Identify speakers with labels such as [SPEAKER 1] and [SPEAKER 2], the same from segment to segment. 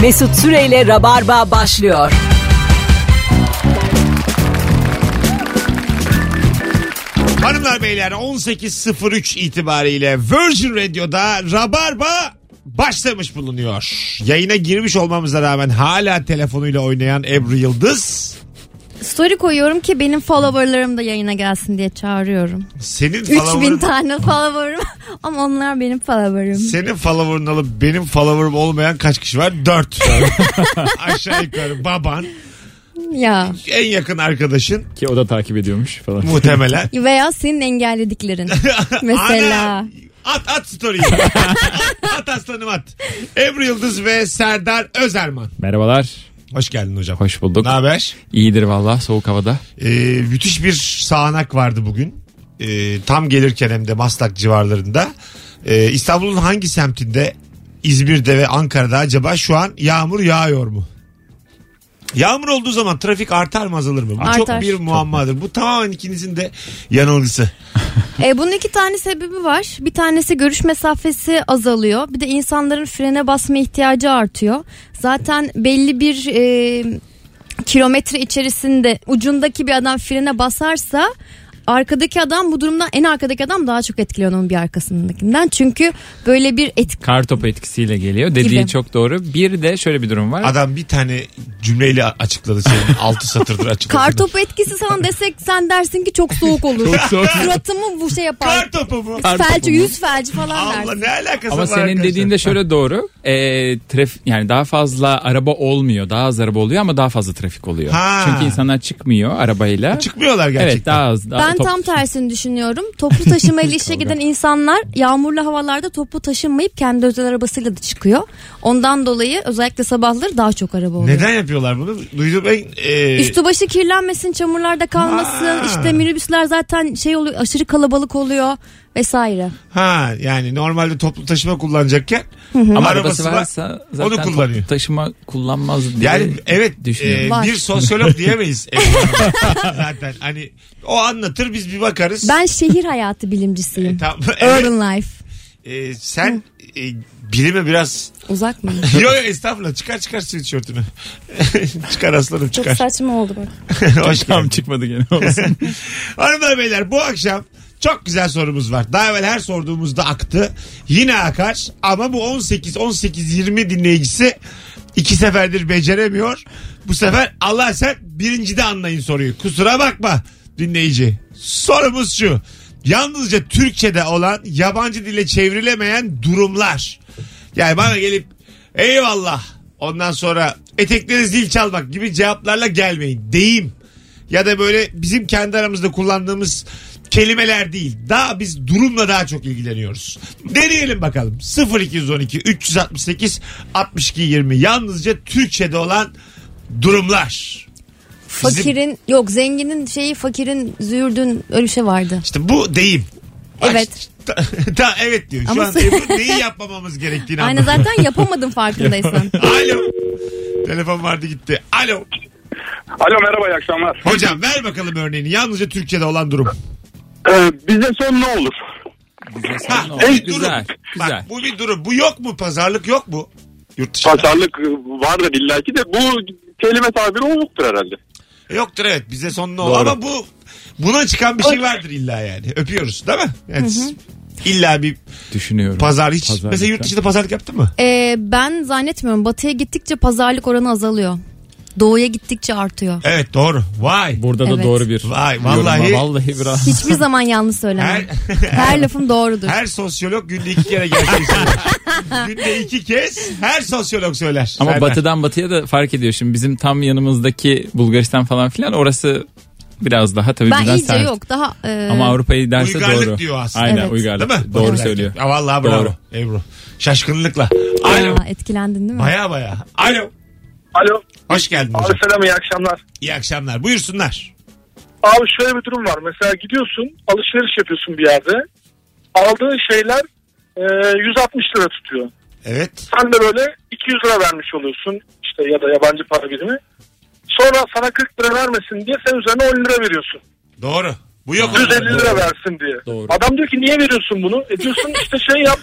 [SPEAKER 1] Mesut Süreyle Rabarba başlıyor.
[SPEAKER 2] Hanımlar beyler 18.03 itibariyle Virgin Radio'da Rabarba başlamış bulunuyor. Yayına girmiş olmamıza rağmen hala telefonuyla oynayan Ebru Yıldız.
[SPEAKER 3] Story koyuyorum ki benim followerlarım da yayına gelsin diye çağırıyorum.
[SPEAKER 2] Senin
[SPEAKER 3] 3000
[SPEAKER 2] follower'ın,
[SPEAKER 3] tane followerım ama onlar benim followerım.
[SPEAKER 2] senin follower'ın alıp benim follower'ım olmayan kaç kişi var? 4. Aşağı yukarı baban,
[SPEAKER 3] Ya
[SPEAKER 2] en yakın arkadaşın
[SPEAKER 4] Ki o da takip ediyormuş falan.
[SPEAKER 2] muhtemelen.
[SPEAKER 3] veya senin engellediklerin mesela.
[SPEAKER 2] Ana, at at story'i. at, at aslanım at. Ebru Yıldız ve Serdar Özerman.
[SPEAKER 4] Merhabalar.
[SPEAKER 2] Hoş geldin hocam.
[SPEAKER 4] Hoş bulduk.
[SPEAKER 2] Ne haber?
[SPEAKER 4] İyidir valla soğuk havada.
[SPEAKER 2] Ee, müthiş bir sağanak vardı bugün. Ee, tam gelirken hem de Maslak civarlarında. Ee, İstanbul'un hangi semtinde İzmir'de ve Ankara'da acaba şu an yağmur yağıyor mu? Yağmur olduğu zaman trafik artar mı azalır mı? Bu çok
[SPEAKER 3] Artar.
[SPEAKER 2] bir muammadır. Bu tamamen ikinizin de yanılgısı.
[SPEAKER 3] E, bunun iki tane sebebi var. Bir tanesi görüş mesafesi azalıyor. Bir de insanların frene basma ihtiyacı artıyor. Zaten belli bir e, kilometre içerisinde ucundaki bir adam frene basarsa arkadaki adam bu durumdan en arkadaki adam daha çok etkileniyor onun bir arkasındakinden. Çünkü böyle bir etki
[SPEAKER 4] Kar topu etkisiyle geliyor. Dediği
[SPEAKER 3] Gibi.
[SPEAKER 4] çok doğru. Bir de şöyle bir durum var.
[SPEAKER 2] Adam bir tane cümleyle açıkladı senin. Altı satırdır açıkladı.
[SPEAKER 3] kartopu etkisi sana desek sen dersin ki çok soğuk olur.
[SPEAKER 4] soğuk.
[SPEAKER 3] Suratımı bu şey yapar.
[SPEAKER 2] Kartopu mu?
[SPEAKER 4] Kar topu
[SPEAKER 3] felci
[SPEAKER 4] mu?
[SPEAKER 3] yüz felci falan
[SPEAKER 2] Allah
[SPEAKER 3] dersin.
[SPEAKER 2] ne alakası
[SPEAKER 4] Ama
[SPEAKER 2] var
[SPEAKER 4] senin
[SPEAKER 2] arkadaşlar?
[SPEAKER 4] dediğinde şöyle doğru. Ee, traf yani daha fazla araba olmuyor. Daha az araba oluyor ama daha fazla trafik oluyor.
[SPEAKER 2] Ha.
[SPEAKER 4] Çünkü insanlar çıkmıyor arabayla.
[SPEAKER 2] Çıkmıyorlar gerçekten.
[SPEAKER 4] evet daha az. Daha
[SPEAKER 3] Ben
[SPEAKER 4] top-
[SPEAKER 3] tam tersini düşünüyorum. Toplu taşıma ile işe giden insanlar yağmurlu havalarda toplu taşınmayıp kendi özel arabasıyla da çıkıyor. Ondan dolayı özellikle sabahları daha çok araba oluyor.
[SPEAKER 2] Neden yapıyorlar bunu? Duydum en... e,
[SPEAKER 3] Üstü başı kirlenmesin, çamurlarda kalmasın.
[SPEAKER 2] Ha.
[SPEAKER 3] İşte minibüsler zaten şey oluyor, aşırı kalabalık oluyor vesaire.
[SPEAKER 2] Ha yani normalde toplu taşıma kullanacakken
[SPEAKER 4] Ama
[SPEAKER 2] arabası
[SPEAKER 4] arabası
[SPEAKER 2] var,
[SPEAKER 4] varsa zaten
[SPEAKER 2] onu kullanıyor.
[SPEAKER 4] toplu taşıma kullanmaz diye
[SPEAKER 2] yani evet
[SPEAKER 4] düşünüyorum.
[SPEAKER 2] e,
[SPEAKER 3] Var.
[SPEAKER 2] bir sosyolog diyemeyiz. Ebru Hanım. zaten hani o anlatır biz bir bakarız.
[SPEAKER 3] Ben şehir hayatı bilimcisiyim.
[SPEAKER 2] E, Tamam. Evet,
[SPEAKER 3] Urban life.
[SPEAKER 2] e, sen e, bilime biraz
[SPEAKER 3] Uzak mı?
[SPEAKER 2] yok yok, estağfurullah çıkar çıkar sivil tişörtünü. çıkar aslanım
[SPEAKER 3] Çok
[SPEAKER 2] çıkar.
[SPEAKER 3] saçma oldu bak.
[SPEAKER 2] Hoş
[SPEAKER 4] tam
[SPEAKER 2] geldin.
[SPEAKER 4] çıkmadı gene olsun.
[SPEAKER 2] Hanımlar beyler bu akşam çok güzel sorumuz var. Daha evvel her sorduğumuzda aktı. Yine akar ama bu 18 18 20 dinleyicisi iki seferdir beceremiyor. Bu sefer Allah sen birincide anlayın soruyu. Kusura bakma dinleyici. Sorumuz şu. Yalnızca Türkçe'de olan yabancı dile çevrilemeyen durumlar. Yani bana gelip eyvallah ondan sonra etekleri zil çalmak gibi cevaplarla gelmeyin. Deyim ya da böyle bizim kendi aramızda kullandığımız kelimeler değil. Daha biz durumla daha çok ilgileniyoruz. Deneyelim bakalım. 0212 368 62 20 yalnızca Türkçe'de olan durumlar. Bizim-
[SPEAKER 3] Fakirin yok zenginin şeyi fakirin züğürdün öyle bir şey vardı.
[SPEAKER 2] İşte bu deyim.
[SPEAKER 3] Evet.
[SPEAKER 2] Bak, ta- ta- evet diyor. Şu
[SPEAKER 3] Ama-
[SPEAKER 2] an Ebru neyi yapmamamız gerektiğini
[SPEAKER 3] Aynı
[SPEAKER 2] anladım.
[SPEAKER 3] zaten yapamadın farkındaysan.
[SPEAKER 2] Alo. Telefon vardı gitti. Alo.
[SPEAKER 5] Alo merhaba iyi akşamlar.
[SPEAKER 2] Hocam ver bakalım örneğini. Yalnızca Türkçe'de olan durum.
[SPEAKER 5] Ee, bize son ne olur?
[SPEAKER 2] Ha,
[SPEAKER 4] Ne oldu?
[SPEAKER 2] bir durum.
[SPEAKER 4] güzel. Güzel.
[SPEAKER 2] Bak, bu bir durum. Bu yok mu? Pazarlık yok mu? Yurt dışında.
[SPEAKER 5] Pazarlık e, vardır illaki de bu kelime tabiri oluktur herhalde.
[SPEAKER 2] Yoktur evet bize son ne olur ama bu buna çıkan bir şey vardır illa yani. Öpüyoruz değil mi? Yani siz illa bir
[SPEAKER 4] Düşünüyorum.
[SPEAKER 2] pazar hiç.
[SPEAKER 4] Pazarlık
[SPEAKER 2] mesela yurt
[SPEAKER 4] ya.
[SPEAKER 2] dışında pazarlık yaptın mı?
[SPEAKER 3] Ee, ben zannetmiyorum. Batıya gittikçe pazarlık oranı azalıyor. Doğuya gittikçe artıyor.
[SPEAKER 2] Evet doğru. Vay.
[SPEAKER 4] Burada da
[SPEAKER 3] Evet.
[SPEAKER 4] doğru bir
[SPEAKER 2] Vay,
[SPEAKER 4] yoruma-
[SPEAKER 2] vallahi-
[SPEAKER 4] vallahi biraz.
[SPEAKER 3] Hiçbir zaman yanlış söylemem.
[SPEAKER 2] Her,
[SPEAKER 3] Her lafım doğrudur.
[SPEAKER 2] her sosyolog günde iki kere gerçeği söyler. günde iki kez her sosyolog söyler.
[SPEAKER 4] Ama
[SPEAKER 2] Serdar.
[SPEAKER 4] batıdan batıya da fark ediyor. Şimdi bizim tam yanımızdaki Bulgaristan falan filan orası biraz daha tabii
[SPEAKER 3] ben
[SPEAKER 4] bizden
[SPEAKER 3] iyice
[SPEAKER 4] sert.
[SPEAKER 3] yok. Daha e,
[SPEAKER 4] Ama Avrupa'yı derse
[SPEAKER 2] Uygarlık
[SPEAKER 4] doğru.
[SPEAKER 2] diyor aslında.
[SPEAKER 4] Aynen
[SPEAKER 3] Evet.
[SPEAKER 4] uygarlık.
[SPEAKER 2] Değil mi?
[SPEAKER 4] Doğru
[SPEAKER 2] Batıdan.
[SPEAKER 4] söylüyor.
[SPEAKER 2] Ya vallahi bravo.
[SPEAKER 4] Doğru.
[SPEAKER 2] Ebru. Şaşkınlıkla.
[SPEAKER 3] Aa,
[SPEAKER 2] Alo.
[SPEAKER 3] etkilendin değil mi?
[SPEAKER 2] Baya baya. Alo.
[SPEAKER 5] Alo.
[SPEAKER 2] Hoş geldin
[SPEAKER 5] Abi
[SPEAKER 2] hocam.
[SPEAKER 5] selam iyi akşamlar.
[SPEAKER 2] İyi akşamlar. Buyursunlar.
[SPEAKER 5] Abi şöyle bir durum var. Mesela gidiyorsun alışveriş yapıyorsun bir yerde. Aldığın şeyler e, 160 lira tutuyor.
[SPEAKER 2] Evet.
[SPEAKER 5] Sen de böyle 200 lira vermiş oluyorsun işte ya da yabancı para birimi. Sonra sana 40 lira vermesin diye sen üzerine 10 lira veriyorsun.
[SPEAKER 2] Doğru. Bu yok.
[SPEAKER 5] 150 lira versin diye.
[SPEAKER 4] Doğru.
[SPEAKER 5] Adam diyor ki niye veriyorsun bunu? E diyorsun işte şey yap.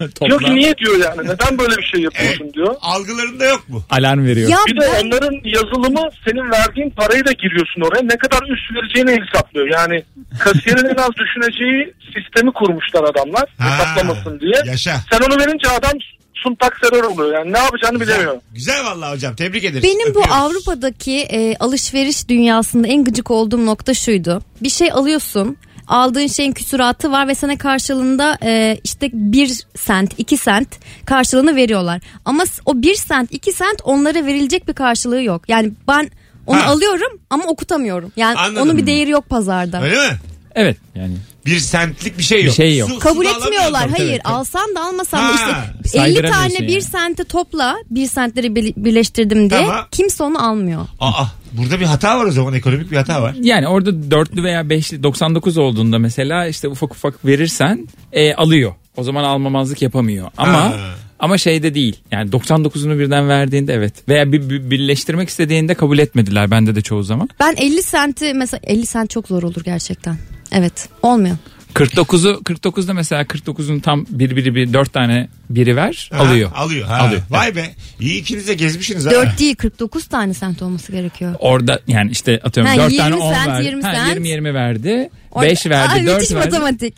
[SPEAKER 5] diyor ki
[SPEAKER 4] Topla.
[SPEAKER 5] niye diyor yani. Neden böyle bir şey
[SPEAKER 2] E,
[SPEAKER 5] yapıyorsun diyor.
[SPEAKER 2] Algılarında yok mu?
[SPEAKER 4] Alarm veriyor.
[SPEAKER 3] Ya
[SPEAKER 5] Bir de
[SPEAKER 3] ben
[SPEAKER 5] onların yazılımı senin verdiğin parayı da giriyorsun oraya. Ne kadar üst vereceğini hesaplıyor. Yani kasiyerin en az düşüneceği sistemi kurmuşlar adamlar.
[SPEAKER 2] Ha,
[SPEAKER 5] hesaplamasın diye.
[SPEAKER 2] yaşa.
[SPEAKER 5] Sen onu verince adam suntak terör oluyor. Yani ne yapacağını bilemiyor.
[SPEAKER 2] Güzel vallahi hocam. Tebrik ederiz.
[SPEAKER 3] Benim bu
[SPEAKER 2] Öpüyoruz.
[SPEAKER 3] Avrupa'daki e, alışveriş dünyasında en gıcık olduğum nokta şuydu. Bir şey alıyorsun aldığın şeyin küsuratı var ve sana karşılığında e, işte 1 sent 2 sent karşılığını veriyorlar. Ama s- o 1 sent 2 sent onlara verilecek bir karşılığı yok. Yani ben onu
[SPEAKER 2] Ha.
[SPEAKER 3] alıyorum ama okutamıyorum. Yani
[SPEAKER 2] Anladım.
[SPEAKER 3] onun bir değeri yok pazarda.
[SPEAKER 2] Öyle mi?
[SPEAKER 4] Evet yani.
[SPEAKER 2] Bir sentlik bir şey yok.
[SPEAKER 4] Bir şey yok.
[SPEAKER 3] Kabul
[SPEAKER 2] da alamıyorsun.
[SPEAKER 3] etmiyorlar.
[SPEAKER 4] tabii,
[SPEAKER 3] Hayır
[SPEAKER 4] tabii.
[SPEAKER 3] alsan da almasan da
[SPEAKER 2] Ha.
[SPEAKER 3] işte 50 tane
[SPEAKER 4] Saydıramıyorsun
[SPEAKER 3] 1
[SPEAKER 4] yani.
[SPEAKER 3] sente topla 1 sentleri bir- birleştirdim diye
[SPEAKER 2] Tamam.
[SPEAKER 3] kimse onu almıyor.
[SPEAKER 2] Aa, burada bir hata var o zaman. Ekonomik bir hata var.
[SPEAKER 4] Yani orada dörtlü veya beşli 99 olduğunda mesela işte ufak ufak verirsen e, alıyor. O zaman almamazlık yapamıyor. Ama
[SPEAKER 2] Ha.
[SPEAKER 4] ama şeyde değil. Yani 99'unu birden verdiğinde evet. Veya bir, bir- birleştirmek istediğinde kabul etmediler bende de çoğu zaman.
[SPEAKER 3] Ben 50 senti mesela 50 sent çok zor olur gerçekten. Evet olmuyor.
[SPEAKER 4] 49'u 49'da mesela 49'un tam bir biri bir dört tane biri ver
[SPEAKER 2] Ha,
[SPEAKER 4] alıyor.
[SPEAKER 2] Alıyor. Ha.
[SPEAKER 4] Alıyor.
[SPEAKER 2] Vay be. İyi ikiniz de gezmişsiniz ha.
[SPEAKER 3] 4 değil 49 tane sent olması gerekiyor.
[SPEAKER 4] Orada yani işte atıyorum
[SPEAKER 3] Ha,
[SPEAKER 4] 4 tane
[SPEAKER 3] 20
[SPEAKER 4] 10
[SPEAKER 3] sent,
[SPEAKER 4] verdi.
[SPEAKER 3] 20
[SPEAKER 4] Ha,
[SPEAKER 3] sent.
[SPEAKER 4] 20 20 verdi.
[SPEAKER 3] Orada-
[SPEAKER 4] 5 verdi,
[SPEAKER 3] Ay,
[SPEAKER 4] 4
[SPEAKER 3] müthiş
[SPEAKER 4] verdi.
[SPEAKER 3] matematik.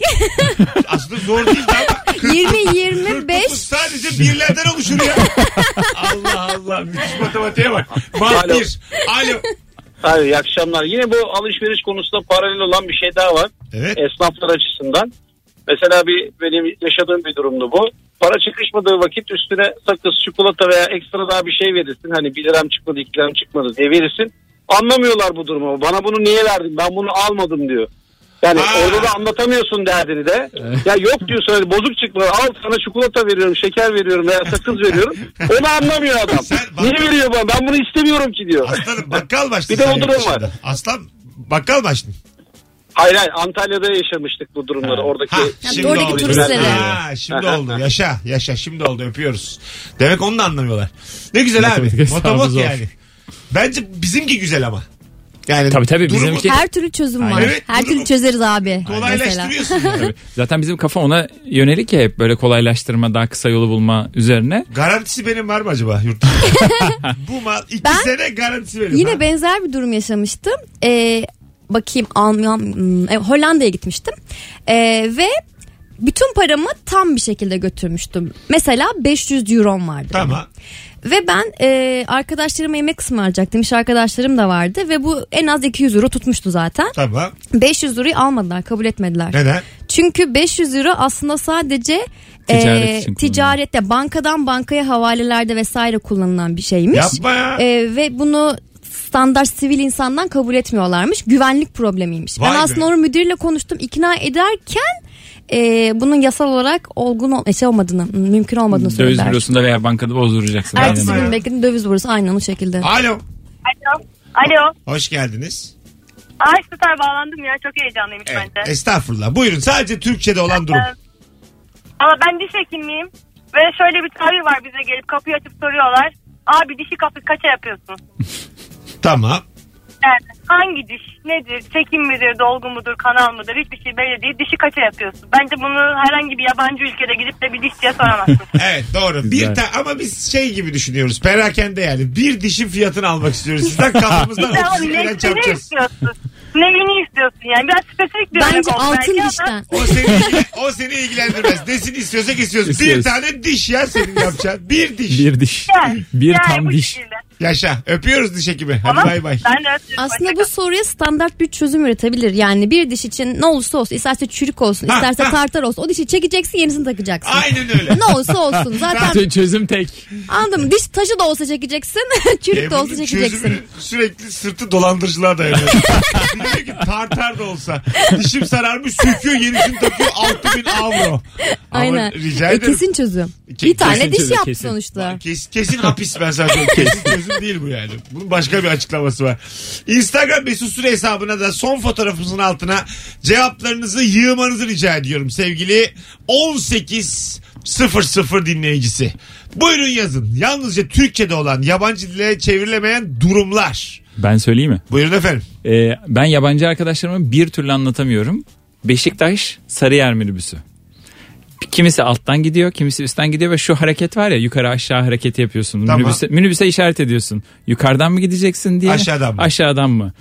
[SPEAKER 2] Aslında zor değil ama
[SPEAKER 3] 20
[SPEAKER 2] bu
[SPEAKER 3] 25
[SPEAKER 2] sadece birlerden oluşur ya. Allah Allah. Müthiş matematiğe bak. Mah
[SPEAKER 6] Alo.
[SPEAKER 2] bir. Alo.
[SPEAKER 6] Hayır, iyi akşamlar. Yine bu alışveriş konusunda paralel olan bir şey daha var.
[SPEAKER 2] Evet.
[SPEAKER 6] Esnaflar açısından. Mesela bir benim yaşadığım bir durumdu bu. Para çıkışmadığı vakit üstüne sakız, çikolata veya ekstra daha bir şey verirsin. Hani 1 liram çıkmadı, 2 liram çıkmadı diye verirsin. Anlamıyorlar bu durumu. Bana bunu niye verdin? Ben bunu almadım diyor. Yani
[SPEAKER 2] Aa.
[SPEAKER 6] orada da anlatamıyorsun derdini de. ya yok diyorsun öyle bozuk çıkma. Al sana çikolata veriyorum, şeker veriyorum veya sakız veriyorum. Onu anlamıyor adam.
[SPEAKER 2] Sen bak-
[SPEAKER 6] Niye veriyor bana? Ben bunu istemiyorum ki diyor.
[SPEAKER 2] Aslanım bakkal başlı.
[SPEAKER 6] Bir de o
[SPEAKER 2] senin
[SPEAKER 6] durum var.
[SPEAKER 2] başında. Aslan bakkal başlı.
[SPEAKER 6] Hayır hayır Antalya'da yaşamıştık bu durumları. Oradaki
[SPEAKER 2] Ha,
[SPEAKER 3] Ya
[SPEAKER 2] şimdi
[SPEAKER 3] oradaki
[SPEAKER 2] oldu.
[SPEAKER 3] turistleri.
[SPEAKER 2] Ha, şimdi oldu. Yaşa, yaşa. Şimdi oldu. Öpüyoruz. Demek onu da anlamıyorlar. Ne güzel abi.
[SPEAKER 4] Matematik hesabı
[SPEAKER 2] Motomot
[SPEAKER 4] zor.
[SPEAKER 2] yani. Bence bizimki güzel ama. Yani
[SPEAKER 4] Tabii tabii
[SPEAKER 2] durumu
[SPEAKER 4] bizimki
[SPEAKER 3] her türlü çözüm var.
[SPEAKER 2] Evet,
[SPEAKER 3] Her
[SPEAKER 2] bunu
[SPEAKER 3] türlü çözeriz abi. Mesela.
[SPEAKER 2] kolaylaştırıyorsun. yani.
[SPEAKER 4] Zaten bizim kafa ona yönelik ya hep böyle kolaylaştırma, daha kısa yolu bulma üzerine.
[SPEAKER 2] Garantisi benim var mı acaba yurt dışında? Bu mal iki
[SPEAKER 3] Ben-
[SPEAKER 2] sene garantisi benim.
[SPEAKER 3] Yine
[SPEAKER 2] ha?
[SPEAKER 3] benzer bir durum yaşamıştım. Ee, bakayım Alman, hmm, e, Hollanda'ya gitmiştim. Ee, ve bütün paramı tam bir şekilde götürmüştüm. Mesela 500 eurom vardı.
[SPEAKER 2] Tamam.
[SPEAKER 3] Ve ben e, arkadaşlarıma yemek ısmarlayacaktım. İş arkadaşlarım da vardı ve bu en az 200 euro tutmuştu zaten.
[SPEAKER 2] Tamam.
[SPEAKER 3] 500 euroyu almadılar, kabul etmediler.
[SPEAKER 2] Neden?
[SPEAKER 3] Çünkü 500 euro aslında sadece e,
[SPEAKER 4] Ticaret için kullanılan.
[SPEAKER 3] ticarette, bankadan bankaya havalelerde vesaire kullanılan bir şeymiş.
[SPEAKER 2] Yapma ya.
[SPEAKER 3] E, ve bunu standart sivil insandan kabul etmiyorlarmış. Güvenlik problemiymiş.
[SPEAKER 2] Vay
[SPEAKER 3] ben
[SPEAKER 2] be.
[SPEAKER 3] aslında onun müdürüyle konuştum, ikna ederken e, bunun yasal olarak olgun ol- şey olmadığını, mümkün olmadığını
[SPEAKER 4] Döviz
[SPEAKER 3] söylediler.
[SPEAKER 4] bürosunda veya bankada bozduracaksın.
[SPEAKER 3] Ertesi
[SPEAKER 2] Yapma
[SPEAKER 4] Aynen.
[SPEAKER 2] ya.
[SPEAKER 3] gün bekledim döviz borusu aynen o şekilde.
[SPEAKER 2] Alo.
[SPEAKER 7] Alo. Alo.
[SPEAKER 2] Hoş geldiniz.
[SPEAKER 7] Ay süper bağlandım ya. Çok heyecanlıyım
[SPEAKER 2] Evet,
[SPEAKER 7] bence.
[SPEAKER 2] estağfurullah. Buyurun sadece Türkçe'de olan durum.
[SPEAKER 7] Ee, Ama ben diş hekimiyim. Ve şöyle bir tabir var bize gelip kapıyı açıp soruyorlar. Abi dişi kapı kaça yapıyorsun?
[SPEAKER 2] Tamam.
[SPEAKER 7] Yani hangi diş nedir? Çekim midir, dolgu mudur, kanal mıdır? Hiçbir şey belli değil. Dişi kaça yapıyorsun? Bence bunu herhangi bir yabancı ülkede gidip de bir dişçiye soramazsın.
[SPEAKER 2] Evet doğru. Bir
[SPEAKER 4] Güzel.
[SPEAKER 2] ta- ama biz şey gibi düşünüyoruz. Perakende yani. Bir dişin fiyatını almak istiyoruz. Sizden kafamızdan
[SPEAKER 7] Ya
[SPEAKER 2] 30
[SPEAKER 7] oğlum, ne,
[SPEAKER 2] lira
[SPEAKER 7] ne
[SPEAKER 2] çarpacağız.
[SPEAKER 7] istiyorsun? Neyini istiyorsun yani? Biraz spesifik bir örnek
[SPEAKER 3] Bence
[SPEAKER 7] oldu belki
[SPEAKER 3] altın
[SPEAKER 7] ama-
[SPEAKER 3] dişten.
[SPEAKER 2] O seni, ilgilen- o seni ilgilendirmez. Nesini istiyorsak istiyoruz. Bir
[SPEAKER 4] İstiyoruz.
[SPEAKER 2] tane diş ya senin yapacağın. Bir diş.
[SPEAKER 4] Bir diş.
[SPEAKER 7] Yani,
[SPEAKER 4] Bir
[SPEAKER 7] yani
[SPEAKER 4] tam
[SPEAKER 7] bu
[SPEAKER 4] diş.
[SPEAKER 7] şekilde.
[SPEAKER 2] Yaşa. Öpüyoruz diş hekimi. Hadi
[SPEAKER 7] Tamam.
[SPEAKER 2] bay bay.
[SPEAKER 7] Ben de öpüyorum.
[SPEAKER 3] Aslında
[SPEAKER 7] Hoşça
[SPEAKER 3] bu soruya standart bir çözüm üretebilir. Yani bir diş için ne olursa olsun isterse çürük olsun
[SPEAKER 2] Ha,
[SPEAKER 3] isterse
[SPEAKER 2] ha.
[SPEAKER 3] tartar olsun o dişi çekeceksin yenisini takacaksın.
[SPEAKER 2] Aynen öyle.
[SPEAKER 3] Ne olursa olsun zaten
[SPEAKER 4] Çö- Çözüm tek.
[SPEAKER 3] anladın mı? Diş taşı da olsa çekeceksin çürük de
[SPEAKER 2] Ebru'nun
[SPEAKER 3] olsa çekeceksin.
[SPEAKER 2] E, çözümü sürekli sırtı dolandırıcılığa dayanıyor. Diyor ki tartar da olsa. Dişim sararmış söküyor yenisini takıyor 6000 avro. Ama
[SPEAKER 3] Aynen.
[SPEAKER 2] rica
[SPEAKER 3] E,
[SPEAKER 2] ederim.
[SPEAKER 3] kesin çözüm.
[SPEAKER 2] Ke-
[SPEAKER 3] bir tane
[SPEAKER 4] kesin
[SPEAKER 3] diş
[SPEAKER 4] çözüm,
[SPEAKER 3] yaptı
[SPEAKER 4] kesin.
[SPEAKER 3] sonuçta.
[SPEAKER 2] Kes- kesin hapis ben sana söyleyeyim. Kesin çözüm değil bu yani. Bunun başka bir açıklaması var. Instagram mesut süre hesabına da son fotoğrafımızın altına cevaplarınızı yığmanızı rica ediyorum sevgili 18 00 dinleyicisi. Buyurun yazın. Yalnızca Türkçe'de olan yabancı dile çevrilemeyen durumlar.
[SPEAKER 4] Ben söyleyeyim mi?
[SPEAKER 2] Buyurun efendim.
[SPEAKER 4] Ee, ben yabancı arkadaşlarıma bir türlü anlatamıyorum. Beşiktaş Sarıyer minibüsü. Kimisi alttan gidiyor, kimisi üstten gidiyor ve şu hareket var ya yukarı aşağı hareketi yapıyorsun.
[SPEAKER 2] Tamam.
[SPEAKER 4] Minibüse, minibüse işaret ediyorsun. Yukarıdan mı gideceksin diye.
[SPEAKER 2] Aşağıdan mı?
[SPEAKER 4] Aşağıdan mı?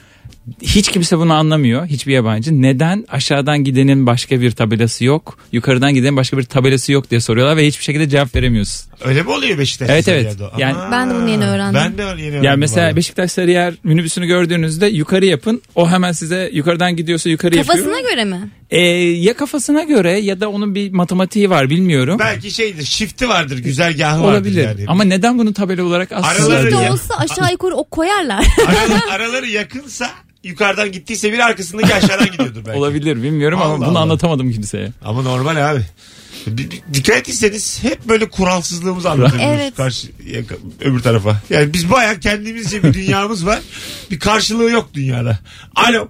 [SPEAKER 4] Hiç kimse bunu anlamıyor. Hiçbir yabancı. Neden aşağıdan gidenin başka bir tabelası yok, yukarıdan gidenin başka bir tabelası yok diye soruyorlar ve hiçbir şekilde cevap veremiyorsun.
[SPEAKER 2] Öyle mi oluyor Beşiktaş'ta?
[SPEAKER 4] Evet, evet. Yani-
[SPEAKER 2] Yani,
[SPEAKER 3] Ben de bunu yeni öğrendim.
[SPEAKER 2] Ben de yeni öğrendim.
[SPEAKER 4] Yani mesela
[SPEAKER 2] vallahi.
[SPEAKER 4] Beşiktaş Sarıyer minibüsünü gördüğünüzde yukarı yapın. O hemen size yukarıdan gidiyorsa yukarı
[SPEAKER 3] Kafasına
[SPEAKER 4] yapıyor.
[SPEAKER 3] göre mi?
[SPEAKER 4] Ee, ya kafasına göre ya da onun bir matematiği var bilmiyorum.
[SPEAKER 2] Belki şeydir shifti vardır güzergahı
[SPEAKER 4] Olabilir.
[SPEAKER 2] vardır yani.
[SPEAKER 4] Ama neden bunu tabela olarak
[SPEAKER 2] Araları
[SPEAKER 4] astılar
[SPEAKER 3] Bir de
[SPEAKER 2] ya.
[SPEAKER 4] diye.
[SPEAKER 3] olsa aşağı yukarı o koyarlar.
[SPEAKER 2] Araları, araları yakınsa yukarıdan gittiyse biri arkasındaki aşağıdan gidiyordur belki.
[SPEAKER 4] Olabilir bilmiyorum
[SPEAKER 2] Allah
[SPEAKER 4] ama bunu
[SPEAKER 2] Allah.
[SPEAKER 4] anlatamadım kimseye.
[SPEAKER 2] Ama normal abi. Bir- bir- Dikkat etseniz hep böyle kuralsızlığımızı anlatıyoruz
[SPEAKER 3] Evet.
[SPEAKER 2] karşı yaka- öbür tarafa. Yani biz bayağı kendimizce bir dünyamız var. Bir karşılığı yok dünyada. Alo.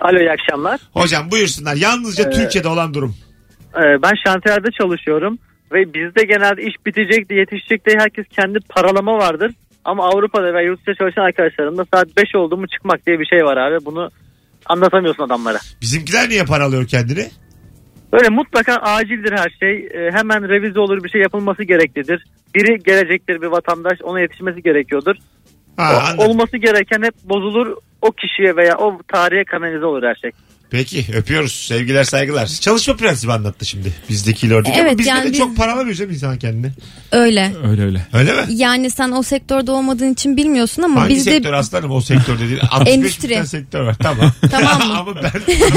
[SPEAKER 8] Alo iyi akşamlar.
[SPEAKER 2] Hocam buyursunlar. Yalnızca Türkiye'de olan durum.
[SPEAKER 8] Ee, ben şantiyerde çalışıyorum ve bizde genelde iş bitecek diye yetişecek diye herkes kendi paralama vardır. Ama Avrupa'da ve yurt dışında çalışan arkadaşlarımda saat 5 oldu mu çıkmak diye bir şey var abi. Bunu anlatamıyorsun adamlara.
[SPEAKER 2] Bizimkiler niye para alıyor kendini?
[SPEAKER 8] Böyle mutlaka acildir her şey. Ee, hemen revize olur bir şey yapılması gereklidir. Biri gelecektir bir vatandaş ona yetişmesi gerekiyordur. O-
[SPEAKER 2] Ha, anladım.
[SPEAKER 8] olması gereken hep bozulur. O kişiye veya o tarihe kanalize olur her şey.
[SPEAKER 2] Peki öpüyoruz. Sevgiler saygılar. Çalışma prensibi anlattı şimdi bizdeki oradaki.
[SPEAKER 3] Evet,
[SPEAKER 2] Ama bizde
[SPEAKER 3] yani
[SPEAKER 2] de
[SPEAKER 3] biz-
[SPEAKER 2] çok para alamıyor canım insan kendini.
[SPEAKER 3] Öyle.
[SPEAKER 4] Öyle öyle.
[SPEAKER 2] Öyle mi?
[SPEAKER 3] Yani sen o sektörde olmadığın için bilmiyorsun ama
[SPEAKER 2] Hangi
[SPEAKER 3] bizde
[SPEAKER 2] sektör aslanım o sektör dediğin 65
[SPEAKER 3] Endüstri.
[SPEAKER 2] bin tane sektör var tamam.
[SPEAKER 3] Tamam mı?
[SPEAKER 2] Ama ben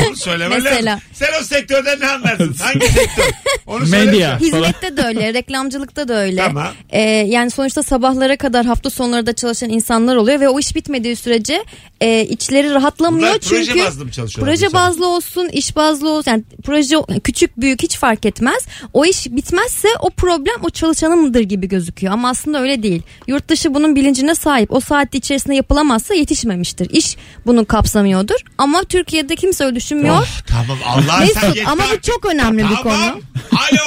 [SPEAKER 2] onu söylemem
[SPEAKER 3] Mesela.
[SPEAKER 2] lazım. Sen o sektörden ne anlarsın? Hangi sektör? Onu
[SPEAKER 4] Medya.
[SPEAKER 2] söyle.
[SPEAKER 3] Hizmette de öyle, reklamcılıkta da öyle.
[SPEAKER 2] Tamam.
[SPEAKER 3] Ee, yani sonuçta sabahlara kadar hafta sonları da çalışan insanlar oluyor ve o iş bitmediği sürece e, içleri rahatlamıyor
[SPEAKER 2] Bunlar
[SPEAKER 3] çünkü
[SPEAKER 2] proje bazlı mı çalışıyorlar
[SPEAKER 3] proje
[SPEAKER 2] bu
[SPEAKER 3] bazlı olsun, iş bazlı olsun. Yani proje küçük büyük hiç fark etmez. O iş bitmezse o problem o çalışanın mıdır gibi gözüküyor ama aslında öyle değil. Yurt dışı bunun bilincine sahip. O saat içerisinde yapılamazsa yetişmemiştir. İş bunu kapsamıyordur ama Türkiye'de kimse öyle düşünmüyor.
[SPEAKER 2] Oh, tamam Allah sen
[SPEAKER 3] Mesut
[SPEAKER 2] geç
[SPEAKER 3] ama bu
[SPEAKER 2] bak.
[SPEAKER 3] çok önemli bir konu.
[SPEAKER 2] Tamam.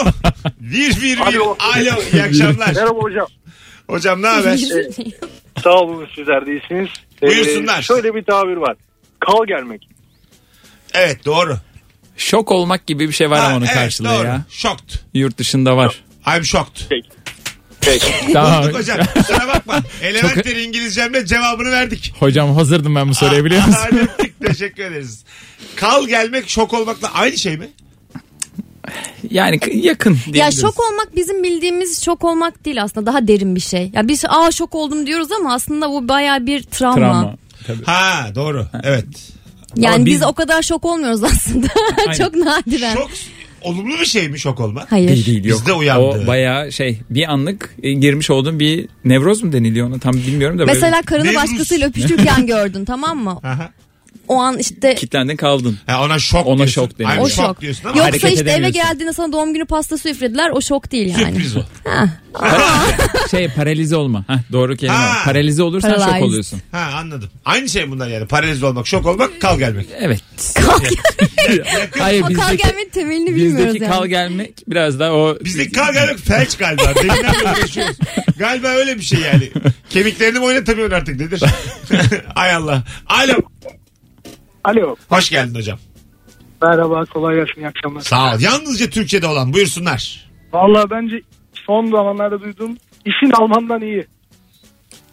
[SPEAKER 2] Alo. Bir bir bir. Alo.
[SPEAKER 5] Alo.
[SPEAKER 2] İyi akşamlar.
[SPEAKER 5] hocam.
[SPEAKER 2] Hocam ne haber?
[SPEAKER 5] Sağ olun sizler de iyisiniz. Ee,
[SPEAKER 2] Buyursunlar.
[SPEAKER 5] şöyle bir tabir var. Kal gelmek.
[SPEAKER 2] Evet doğru.
[SPEAKER 4] Şok olmak gibi bir şey var ama onun
[SPEAKER 2] evet,
[SPEAKER 4] karşılığı
[SPEAKER 2] doğru.
[SPEAKER 4] ya.
[SPEAKER 2] Shocked.
[SPEAKER 4] Yurt dışında var.
[SPEAKER 2] I'm shocked.
[SPEAKER 4] Tamam.
[SPEAKER 2] Bulduk hocam. Kusura bakma. Elementleri İngilizcemle cevabını verdik.
[SPEAKER 4] Hocam hazırdım ben bu soruya biliyor musun?
[SPEAKER 2] Hadi öptük. Teşekkür ederiz. Kal gelmek şok olmakla aynı şey mi?
[SPEAKER 4] Yani k- yakın.
[SPEAKER 3] Ya
[SPEAKER 4] diyebiliriz.
[SPEAKER 3] şok olmak bizim bildiğimiz şok olmak değil aslında daha derin bir şey. Ya biz aa şok oldum diyoruz ama aslında bu baya bir travma.
[SPEAKER 4] Travma. Tabii.
[SPEAKER 2] Ha doğru. Evet.
[SPEAKER 3] Yani
[SPEAKER 4] Ama
[SPEAKER 3] biz...
[SPEAKER 4] biz-
[SPEAKER 3] o kadar şok olmuyoruz aslında. Çok nadiren.
[SPEAKER 2] Şok olumlu bir şey mi şok olmak?
[SPEAKER 3] Hayır.
[SPEAKER 4] Değil değil yok.
[SPEAKER 2] Bizde uyandı.
[SPEAKER 4] O bayağı şey bir anlık e, girmiş olduğun bir nevroz mu deniliyor ona tam bilmiyorum da. böyle
[SPEAKER 3] Mesela karını
[SPEAKER 2] Nevruz.
[SPEAKER 3] başkasıyla öpüşürken gördün tamam mı?
[SPEAKER 2] Aha.
[SPEAKER 3] O an işte
[SPEAKER 4] Kitlendin kaldın.
[SPEAKER 2] Ha, ona şok
[SPEAKER 4] Ona
[SPEAKER 2] diyorsun.
[SPEAKER 4] şok deniyor.
[SPEAKER 2] I'm
[SPEAKER 3] o
[SPEAKER 2] shocked
[SPEAKER 3] şok.
[SPEAKER 2] diyorsun ama
[SPEAKER 3] Yoksa
[SPEAKER 4] hareket
[SPEAKER 3] işte eve
[SPEAKER 4] edemiyorsun.
[SPEAKER 3] geldiğinde sana doğum günü pastası üflediler o şok değil yani.
[SPEAKER 2] sürpriz o.
[SPEAKER 4] şey paralize olma. Heh, doğru kelime.
[SPEAKER 2] Ha.
[SPEAKER 4] Paralize olursan
[SPEAKER 3] Paralyzed.
[SPEAKER 4] şok oluyorsun.
[SPEAKER 2] Ha anladım. Aynı şey bunlar yani. Paraliz olmak, şok olmak, kal gelmek.
[SPEAKER 4] Evet.
[SPEAKER 3] Kalk,
[SPEAKER 4] Hayır
[SPEAKER 3] o kalk
[SPEAKER 4] bizdeki,
[SPEAKER 3] gelmenin temelini bilmiyoruz
[SPEAKER 4] bizdeki
[SPEAKER 3] yani.
[SPEAKER 4] kal gelmek biraz da o
[SPEAKER 2] Bizdeki kal gelmek felç galiba. Deminden beri konuşuyoruz. Galiba öyle bir şey yani. Kemiklerini mi oynatamıyorsun artık nedir? Ay Allah. Alo.
[SPEAKER 9] Alo.
[SPEAKER 2] Hoş geldin hocam.
[SPEAKER 9] Merhaba kolay gelsin iyi akşamlar.
[SPEAKER 2] Sağ ol. Yalnızca Türkçe'de olan buyursunlar.
[SPEAKER 9] Valla bence son zamanlarda duyduğum işin Alman'dan iyi.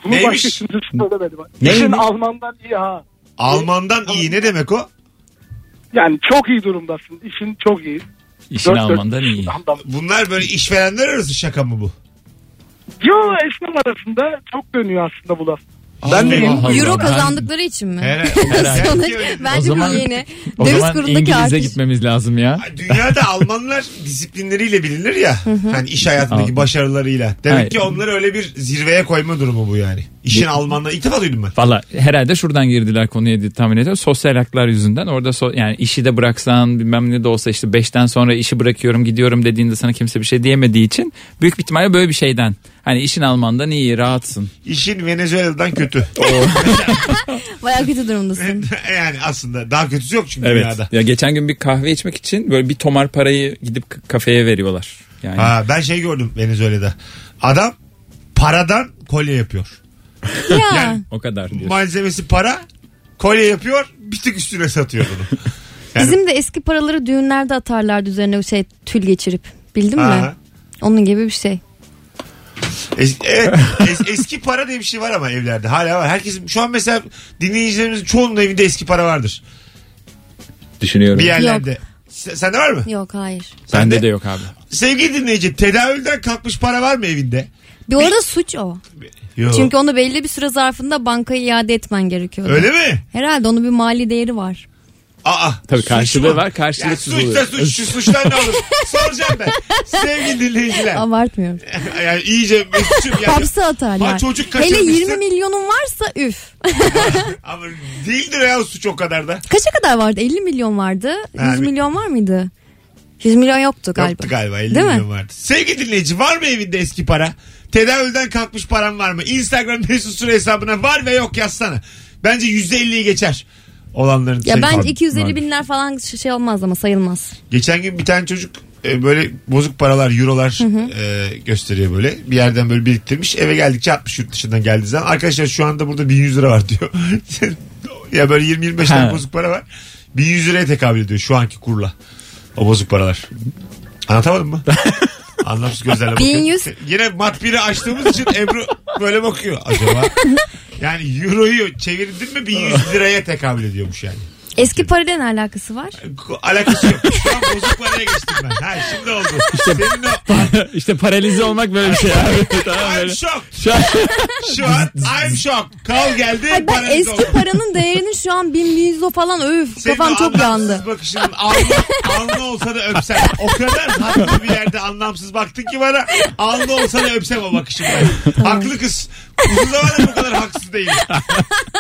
[SPEAKER 9] Bunu
[SPEAKER 2] Neymiş?
[SPEAKER 9] başka kimse söylemedi bak.
[SPEAKER 4] Neymiş?
[SPEAKER 9] İşin Alman'dan iyi ha.
[SPEAKER 2] Almandan iyi ne demek o?
[SPEAKER 9] Yani çok iyi durumdasın. İşin çok iyi.
[SPEAKER 4] işin
[SPEAKER 9] Dört dört.
[SPEAKER 4] Alman'dan iyi.
[SPEAKER 9] Alman'dan.
[SPEAKER 2] Bunlar böyle işverenler arası şaka mı bu?
[SPEAKER 9] Yo esnaf arasında çok dönüyor aslında bu laf.
[SPEAKER 2] Ben
[SPEAKER 4] de- Allah Allah.
[SPEAKER 3] Euro
[SPEAKER 4] Ben-
[SPEAKER 3] kazandıkları için mi?
[SPEAKER 2] Herhalde.
[SPEAKER 3] Sonuç-
[SPEAKER 2] Belki öyle.
[SPEAKER 4] O
[SPEAKER 3] Bence bu
[SPEAKER 4] zaman-
[SPEAKER 3] yeni.
[SPEAKER 4] O
[SPEAKER 3] Döviz
[SPEAKER 4] zaman
[SPEAKER 3] kurundaki
[SPEAKER 4] İngiliz'e
[SPEAKER 3] artış.
[SPEAKER 4] gitmemiz lazım ya.
[SPEAKER 2] Dünyada Almanlar disiplinleriyle bilinir ya. Hani iş hayatındaki
[SPEAKER 4] Anladım.
[SPEAKER 2] başarılarıyla. Demek
[SPEAKER 4] Hayır.
[SPEAKER 2] ki onları öyle bir zirveye koyma durumu bu yani. İşin Almanlar. İlk defa duydum ben.
[SPEAKER 4] Valla herhalde şuradan girdiler konuya diye tahmin ediyorum. Sosyal haklar yüzünden orada so- yani işi de bıraksan bilmem ne de olsa işte 5'ten sonra işi bırakıyorum gidiyorum dediğinde sana kimse bir şey diyemediği için büyük bir ihtimalle böyle bir şeyden. Hani işin Alman'dan iyi rahatsın.
[SPEAKER 2] İşin Venezuela'dan kötü.
[SPEAKER 3] Baya kötü durumdasın.
[SPEAKER 2] yani aslında daha kötüsü yok çünkü dünyada.
[SPEAKER 4] Ya geçen gün bir kahve içmek için böyle bir tomar parayı gidip k- kafeye veriyorlar. Yani
[SPEAKER 2] Ha, ben şey gördüm Venezuela'da. Adam paradan kolye yapıyor.
[SPEAKER 3] Ya.
[SPEAKER 4] O kadar diyorsun.
[SPEAKER 2] Malzemesi para. Kolye yapıyor. Bir tık üstüne satıyor bunu. Yani-
[SPEAKER 3] Bizim de eski paraları düğünlerde atarlardı üzerine şey tül geçirip. Bildin mi?
[SPEAKER 2] Aha.
[SPEAKER 3] Onun gibi bir şey.
[SPEAKER 2] Es- evet, es- eski para diye bir şey var ama evlerde. Hala var. Herkesin şu an mesela dinleyicilerimizin çoğunun evinde eski para vardır.
[SPEAKER 4] Düşünüyorum.
[SPEAKER 2] Bir yerlerde. Sen Sende var mı?
[SPEAKER 3] Yok hayır.
[SPEAKER 4] Bende de yok abi.
[SPEAKER 2] Sevgili dinleyici tedavülden kalkmış para var mı evinde?
[SPEAKER 3] Bir orada suç o.
[SPEAKER 2] Yok.
[SPEAKER 3] Çünkü onu belli bir süre zarfında bankaya iade etmen gerekiyordu.
[SPEAKER 2] Öyle mi?
[SPEAKER 3] Herhalde onun bir mali değeri var.
[SPEAKER 2] Aa.
[SPEAKER 4] Tabii
[SPEAKER 2] suç
[SPEAKER 4] karşılığı
[SPEAKER 2] mu?
[SPEAKER 4] var, karşılıksız
[SPEAKER 2] ya,
[SPEAKER 4] oluyor.
[SPEAKER 2] suçsa suç, şu suçtan ne olur? Soracağım ben. Sevgili dinleyiciler.
[SPEAKER 3] Abartmıyorum.
[SPEAKER 2] yani iyice mesutçum yani.
[SPEAKER 3] Hapse atar
[SPEAKER 2] Ha,
[SPEAKER 3] yani.
[SPEAKER 2] çocuk
[SPEAKER 3] Hele
[SPEAKER 2] kaçırmışsın.
[SPEAKER 3] 20 milyonun varsa üf.
[SPEAKER 2] Ama değildir ya suç o kadar da.
[SPEAKER 3] Kaça kadar vardı? 50 milyon vardı. 100
[SPEAKER 2] Ha, bir-
[SPEAKER 3] milyon var mıydı? 100 milyon yoktu galiba.
[SPEAKER 2] Yoktu galiba 50
[SPEAKER 3] Değil mi?
[SPEAKER 2] milyon vardı. Sevgili dinleyici var mı evinde eski para? Tedavülden kalkmış param var mı? Instagram mesut süre hesabına var ve yok yazsana. Bence %50'yi geçer olanların.
[SPEAKER 3] Ya
[SPEAKER 2] Senin-
[SPEAKER 3] bence 250
[SPEAKER 4] vardır.
[SPEAKER 3] binler falan şey olmaz ama sayılmaz.
[SPEAKER 2] Geçen gün bir tane çocuk e, böyle bozuk paralar, eurolar e, gösteriyor böyle. Bir yerden böyle biriktirmiş. Eve geldikçe 60 yurt dışından geldiği zaman. Arkadaşlar şu anda burada 1100 lira var diyor. ya böyle 20-25 tane
[SPEAKER 4] Ha.
[SPEAKER 2] bozuk para var. 1100 liraya tekabül ediyor şu anki kurla. O bozuk paralar. Anlatamadım mı? Anlamsız gözlerle bakıyor.
[SPEAKER 3] 1100.
[SPEAKER 2] Yine matbiri açtığımız için Ebru böyle bakıyor acaba. Yani euroyu çevirdin mi 1100 liraya tekabül ediyormuş yani.
[SPEAKER 3] Eski parayla ne alakası var?
[SPEAKER 2] Alakası yok. Şu an bozuk paraya geçtim ben. Ha şimdi oldu. Senin o...
[SPEAKER 4] işte paralize olmak böyle bir şey abi. tamam
[SPEAKER 2] I'm
[SPEAKER 4] böyle.
[SPEAKER 2] shocked.
[SPEAKER 4] Şu an-
[SPEAKER 2] Şu an I'm shocked. Kal geldi.
[SPEAKER 3] Ay ben
[SPEAKER 2] paranız
[SPEAKER 3] eski
[SPEAKER 2] oldu.
[SPEAKER 3] paranın değerini şu an 1100 o falan öf
[SPEAKER 2] Senin
[SPEAKER 3] kafam
[SPEAKER 2] o
[SPEAKER 3] çok
[SPEAKER 2] anlamsız
[SPEAKER 3] yandı.
[SPEAKER 2] bakışının alnı, alnı olsa da öpsem. O kadar haklı bir yerde anlamsız baktın ki bana. Alnı olsa da öpsem o bakışımdan. Haklı kız. Uzun zamandır bu kadar haksız değil.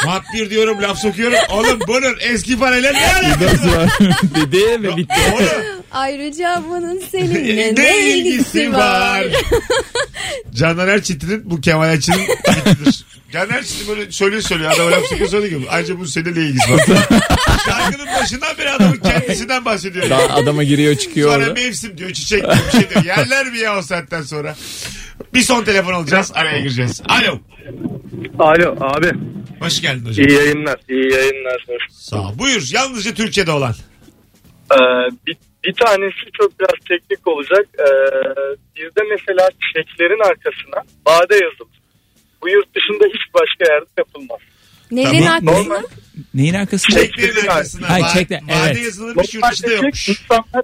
[SPEAKER 2] Mat bir diyorum laf sokuyorum. Oğlum bunun eski parayla ne alakası var?
[SPEAKER 4] Dedi ve bitti.
[SPEAKER 2] Oğlum
[SPEAKER 3] Ayrıca bunun seninle
[SPEAKER 2] ne,
[SPEAKER 3] ne
[SPEAKER 2] ilgisi var? Canan Erçetin'in bu Kemal Erçetin fikridir. Canan Erçetin böyle söylüyor söylüyor. Adam laf sokuyor söylüyor ki. Ayrıca bunun seninle ne ilgisi var? Şarkının başından beri adamın kendisinden bahsediyor.
[SPEAKER 4] Daha adama giriyor çıkıyor
[SPEAKER 2] Sonra
[SPEAKER 4] orada.
[SPEAKER 2] mevsim diyor çiçek diyor bir şey diyor. Yerler mi ya o saatten sonra? Bir son telefon alacağız araya gireceğiz. Alo.
[SPEAKER 5] Alo abi.
[SPEAKER 2] Hoş geldin hocam.
[SPEAKER 5] İyi yayınlar. İyi yayınlar. Hoş
[SPEAKER 2] Sağ ol. Buyur yalnızca Türkiye'de olan.
[SPEAKER 5] Ee, bir, bir tanesi çok biraz teknik olacak. Ee, bizde mesela çeklerin arkasına bade yazılır. Bu yurt dışında hiç başka yerde yapılmaz.
[SPEAKER 3] Nelerin
[SPEAKER 2] Tamam.
[SPEAKER 3] arkasında?
[SPEAKER 4] Neyin arkasında?
[SPEAKER 5] Çek-
[SPEAKER 2] Çeklerin
[SPEAKER 5] Çeklerin
[SPEAKER 2] arkasına.
[SPEAKER 4] Ay,
[SPEAKER 2] Ay,
[SPEAKER 4] çekler,
[SPEAKER 2] Vade
[SPEAKER 4] evet.
[SPEAKER 2] yazılırmış yurt dışında
[SPEAKER 5] Normalde
[SPEAKER 2] yokmuş.
[SPEAKER 5] çek insanlar,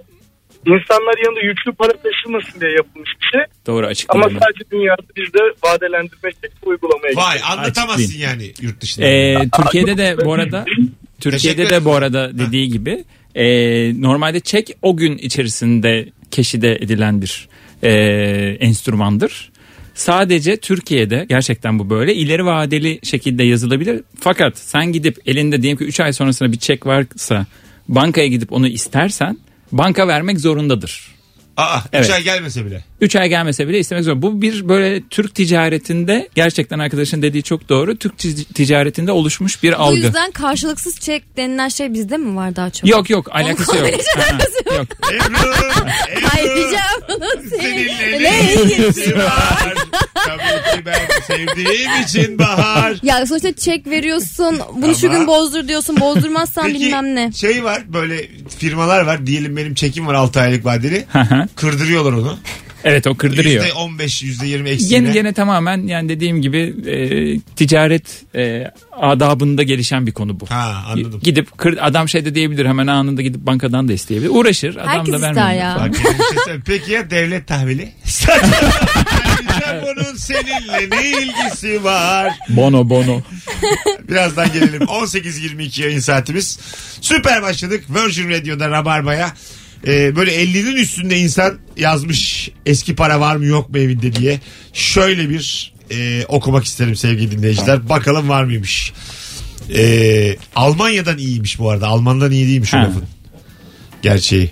[SPEAKER 5] insanlar yanında yüklü para taşımasın diye yapılmış bir şey.
[SPEAKER 4] Doğru
[SPEAKER 5] Ama
[SPEAKER 4] açıklama.
[SPEAKER 5] sadece dünyada bizde vadelendirme şekli uygulamaya
[SPEAKER 2] Vay
[SPEAKER 5] geçti.
[SPEAKER 2] anlatamazsın yani yurt dışında.
[SPEAKER 4] Ee, Türkiye'de de bu arada Türkiye'de de bu arada dediği gibi e, normalde çek o gün içerisinde keşide edilen bir e, enstrümandır. Sadece Türkiye'de gerçekten bu böyle ileri vadeli şekilde yazılabilir. Fakat sen gidip elinde diyelim ki 3 ay sonrasında bir çek varsa bankaya gidip onu istersen banka vermek zorundadır.
[SPEAKER 2] Aa, üç
[SPEAKER 4] Evet.
[SPEAKER 2] ay gelmese bile.
[SPEAKER 4] 3 ay gelmese bile istemek zorunda. Bu bir böyle Türk ticaretinde gerçekten arkadaşın dediği çok doğru. Türk tiz- ticaretinde oluşmuş bir
[SPEAKER 3] Bu
[SPEAKER 4] algı.
[SPEAKER 3] yüzden karşılıksız çek denilen şey bizde mi var daha çok?
[SPEAKER 4] Yok yok alakası yok.
[SPEAKER 3] kombinasyon
[SPEAKER 4] Ha, ha, yok.
[SPEAKER 2] Ebru, Ebru.
[SPEAKER 3] Ayrıca bunun
[SPEAKER 2] Seninle
[SPEAKER 3] seninle
[SPEAKER 2] ne
[SPEAKER 3] ne
[SPEAKER 2] ilgisi var? Tabii ki ben sevdiğim için bahar.
[SPEAKER 3] Ya sonuçta çek veriyorsun bunu şu
[SPEAKER 2] Ama-
[SPEAKER 3] gün bozdur diyorsun bozdurmazsan bilmem ne.
[SPEAKER 2] şey var böyle firmalar var diyelim benim çekim var 6 aylık vadeli.
[SPEAKER 4] Hı hı.
[SPEAKER 2] Kırdırıyorlar onu.
[SPEAKER 4] evet o kırdırıyor.
[SPEAKER 2] %15 %20
[SPEAKER 4] Yeni
[SPEAKER 2] eksiğine.
[SPEAKER 4] gene tamamen yani dediğim gibi e, ticaret e, adabında gelişen bir konu bu.
[SPEAKER 2] Ha anladım.
[SPEAKER 4] Gidip kır, adam şey de diyebilir hemen anında gidip bankadan da isteyebilir. Uğraşır adam
[SPEAKER 3] Herkes
[SPEAKER 4] da
[SPEAKER 3] ister
[SPEAKER 4] vermiyor.
[SPEAKER 3] ya.
[SPEAKER 2] Bak, yeni bir şey söyleyeyim. Peki ya devlet tahvili? Ayrıca bunun seninle ne ilgisi var?
[SPEAKER 4] Bono bono.
[SPEAKER 2] Birazdan gelelim. 18.22 yayın saatimiz. Süper başladık. Virgin Radio'da Rabarba'ya. Ee, böyle 50'nin üstünde insan yazmış eski para var mı yok mu evinde diye. Şöyle bir e, okumak isterim sevgili dinleyiciler. Bakalım var mıymış. Ee, Almanya'dan iyiymiş bu arada. Alman'dan iyi değilmiş o
[SPEAKER 4] Ha.
[SPEAKER 2] lafın. Gerçeği.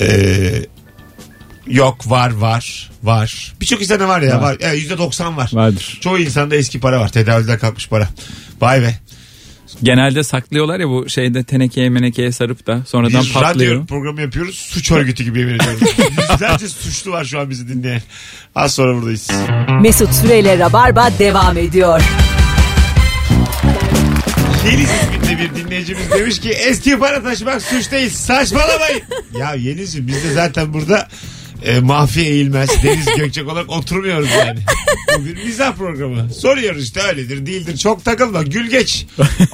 [SPEAKER 2] Ee, yok var var var. Birçok insanda var ya. Var. Yani %90 var.
[SPEAKER 4] Vardır.
[SPEAKER 2] Çoğu insanda eski para var. Tedavülden kalkmış para. Vay be.
[SPEAKER 4] Genelde saklıyorlar ya bu şeyde tenekeye menekeye sarıp da sonradan
[SPEAKER 2] Biz
[SPEAKER 4] patlıyor.
[SPEAKER 2] radyo programı yapıyoruz. Suç örgütü gibi yemin ediyorum. Yüzlerce suçlu var şu an bizi dinleyen. Az sonra buradayız.
[SPEAKER 1] Mesut Süreyle Rabarba devam ediyor.
[SPEAKER 2] Yeni isminde bir dinleyicimiz demiş ki eski para taşımak suç değil saçmalamayın. ya Yenis'im biz de zaten burada e, Mahfi Eğilmez, Deniz Gökçek olarak oturmuyoruz yani. Bu bir mizah programı. Soruyoruz işte öyledir değildir çok takılma gül geç.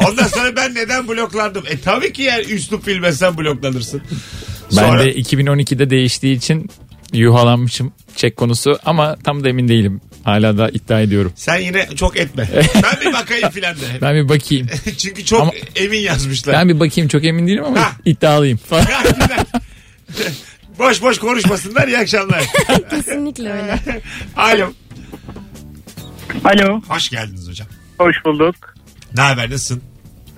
[SPEAKER 2] Ondan sonra ben neden bloklandım? E tabii ki yani üslup bilmezsen bloklanırsın.
[SPEAKER 4] Ben
[SPEAKER 2] Sonra-
[SPEAKER 4] de 2012'de değiştiği için yuhalanmışım çek konusu ama tam da emin değilim. Hala da iddia ediyorum.
[SPEAKER 2] Sen yine çok etme. Ben bir bakayım filan de.
[SPEAKER 4] Ben bir bakayım.
[SPEAKER 2] Çünkü çok
[SPEAKER 4] Ama-
[SPEAKER 2] emin yazmışlar.
[SPEAKER 4] Ben bir bakayım çok emin değilim ama
[SPEAKER 2] Ha.
[SPEAKER 4] iddialıyım falan.
[SPEAKER 2] boş boş konuşmasınlar iyi akşamlar.
[SPEAKER 3] Kesinlikle öyle.
[SPEAKER 2] Alo.
[SPEAKER 9] Alo.
[SPEAKER 2] Hoş geldiniz hocam.
[SPEAKER 9] Hoş bulduk.
[SPEAKER 2] Ne haber nasılsın?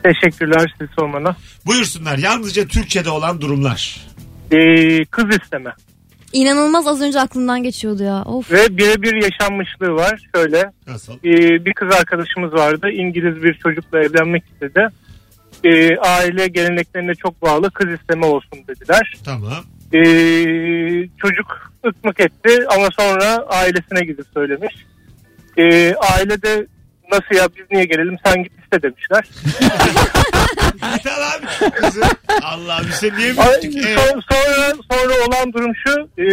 [SPEAKER 9] Teşekkürler sizi sormana.
[SPEAKER 2] Buyursunlar yalnızca Türkçe'de olan durumlar.
[SPEAKER 9] Ee, kız isteme.
[SPEAKER 3] İnanılmaz az önce aklımdan geçiyordu ya. Of.
[SPEAKER 9] Ve birebir yaşanmışlığı var. Şöyle
[SPEAKER 2] Nasıl?
[SPEAKER 9] Ee, bir kız arkadaşımız vardı. İngiliz bir çocukla evlenmek istedi. Ee, aile geleneklerine çok bağlı kız isteme olsun dediler.
[SPEAKER 2] Tamam.
[SPEAKER 9] Ee, çocuk ıkmık etti ama sonra ailesine gidip söylemiş. Ee, aile de nasıl ya biz niye gelelim sen git iste demişler.
[SPEAKER 2] Hatal abi. kızı. Allah bir şey niye
[SPEAKER 9] Ay,
[SPEAKER 2] büyüttük? Evet.
[SPEAKER 9] son- sonra sonra olan durum şu. e,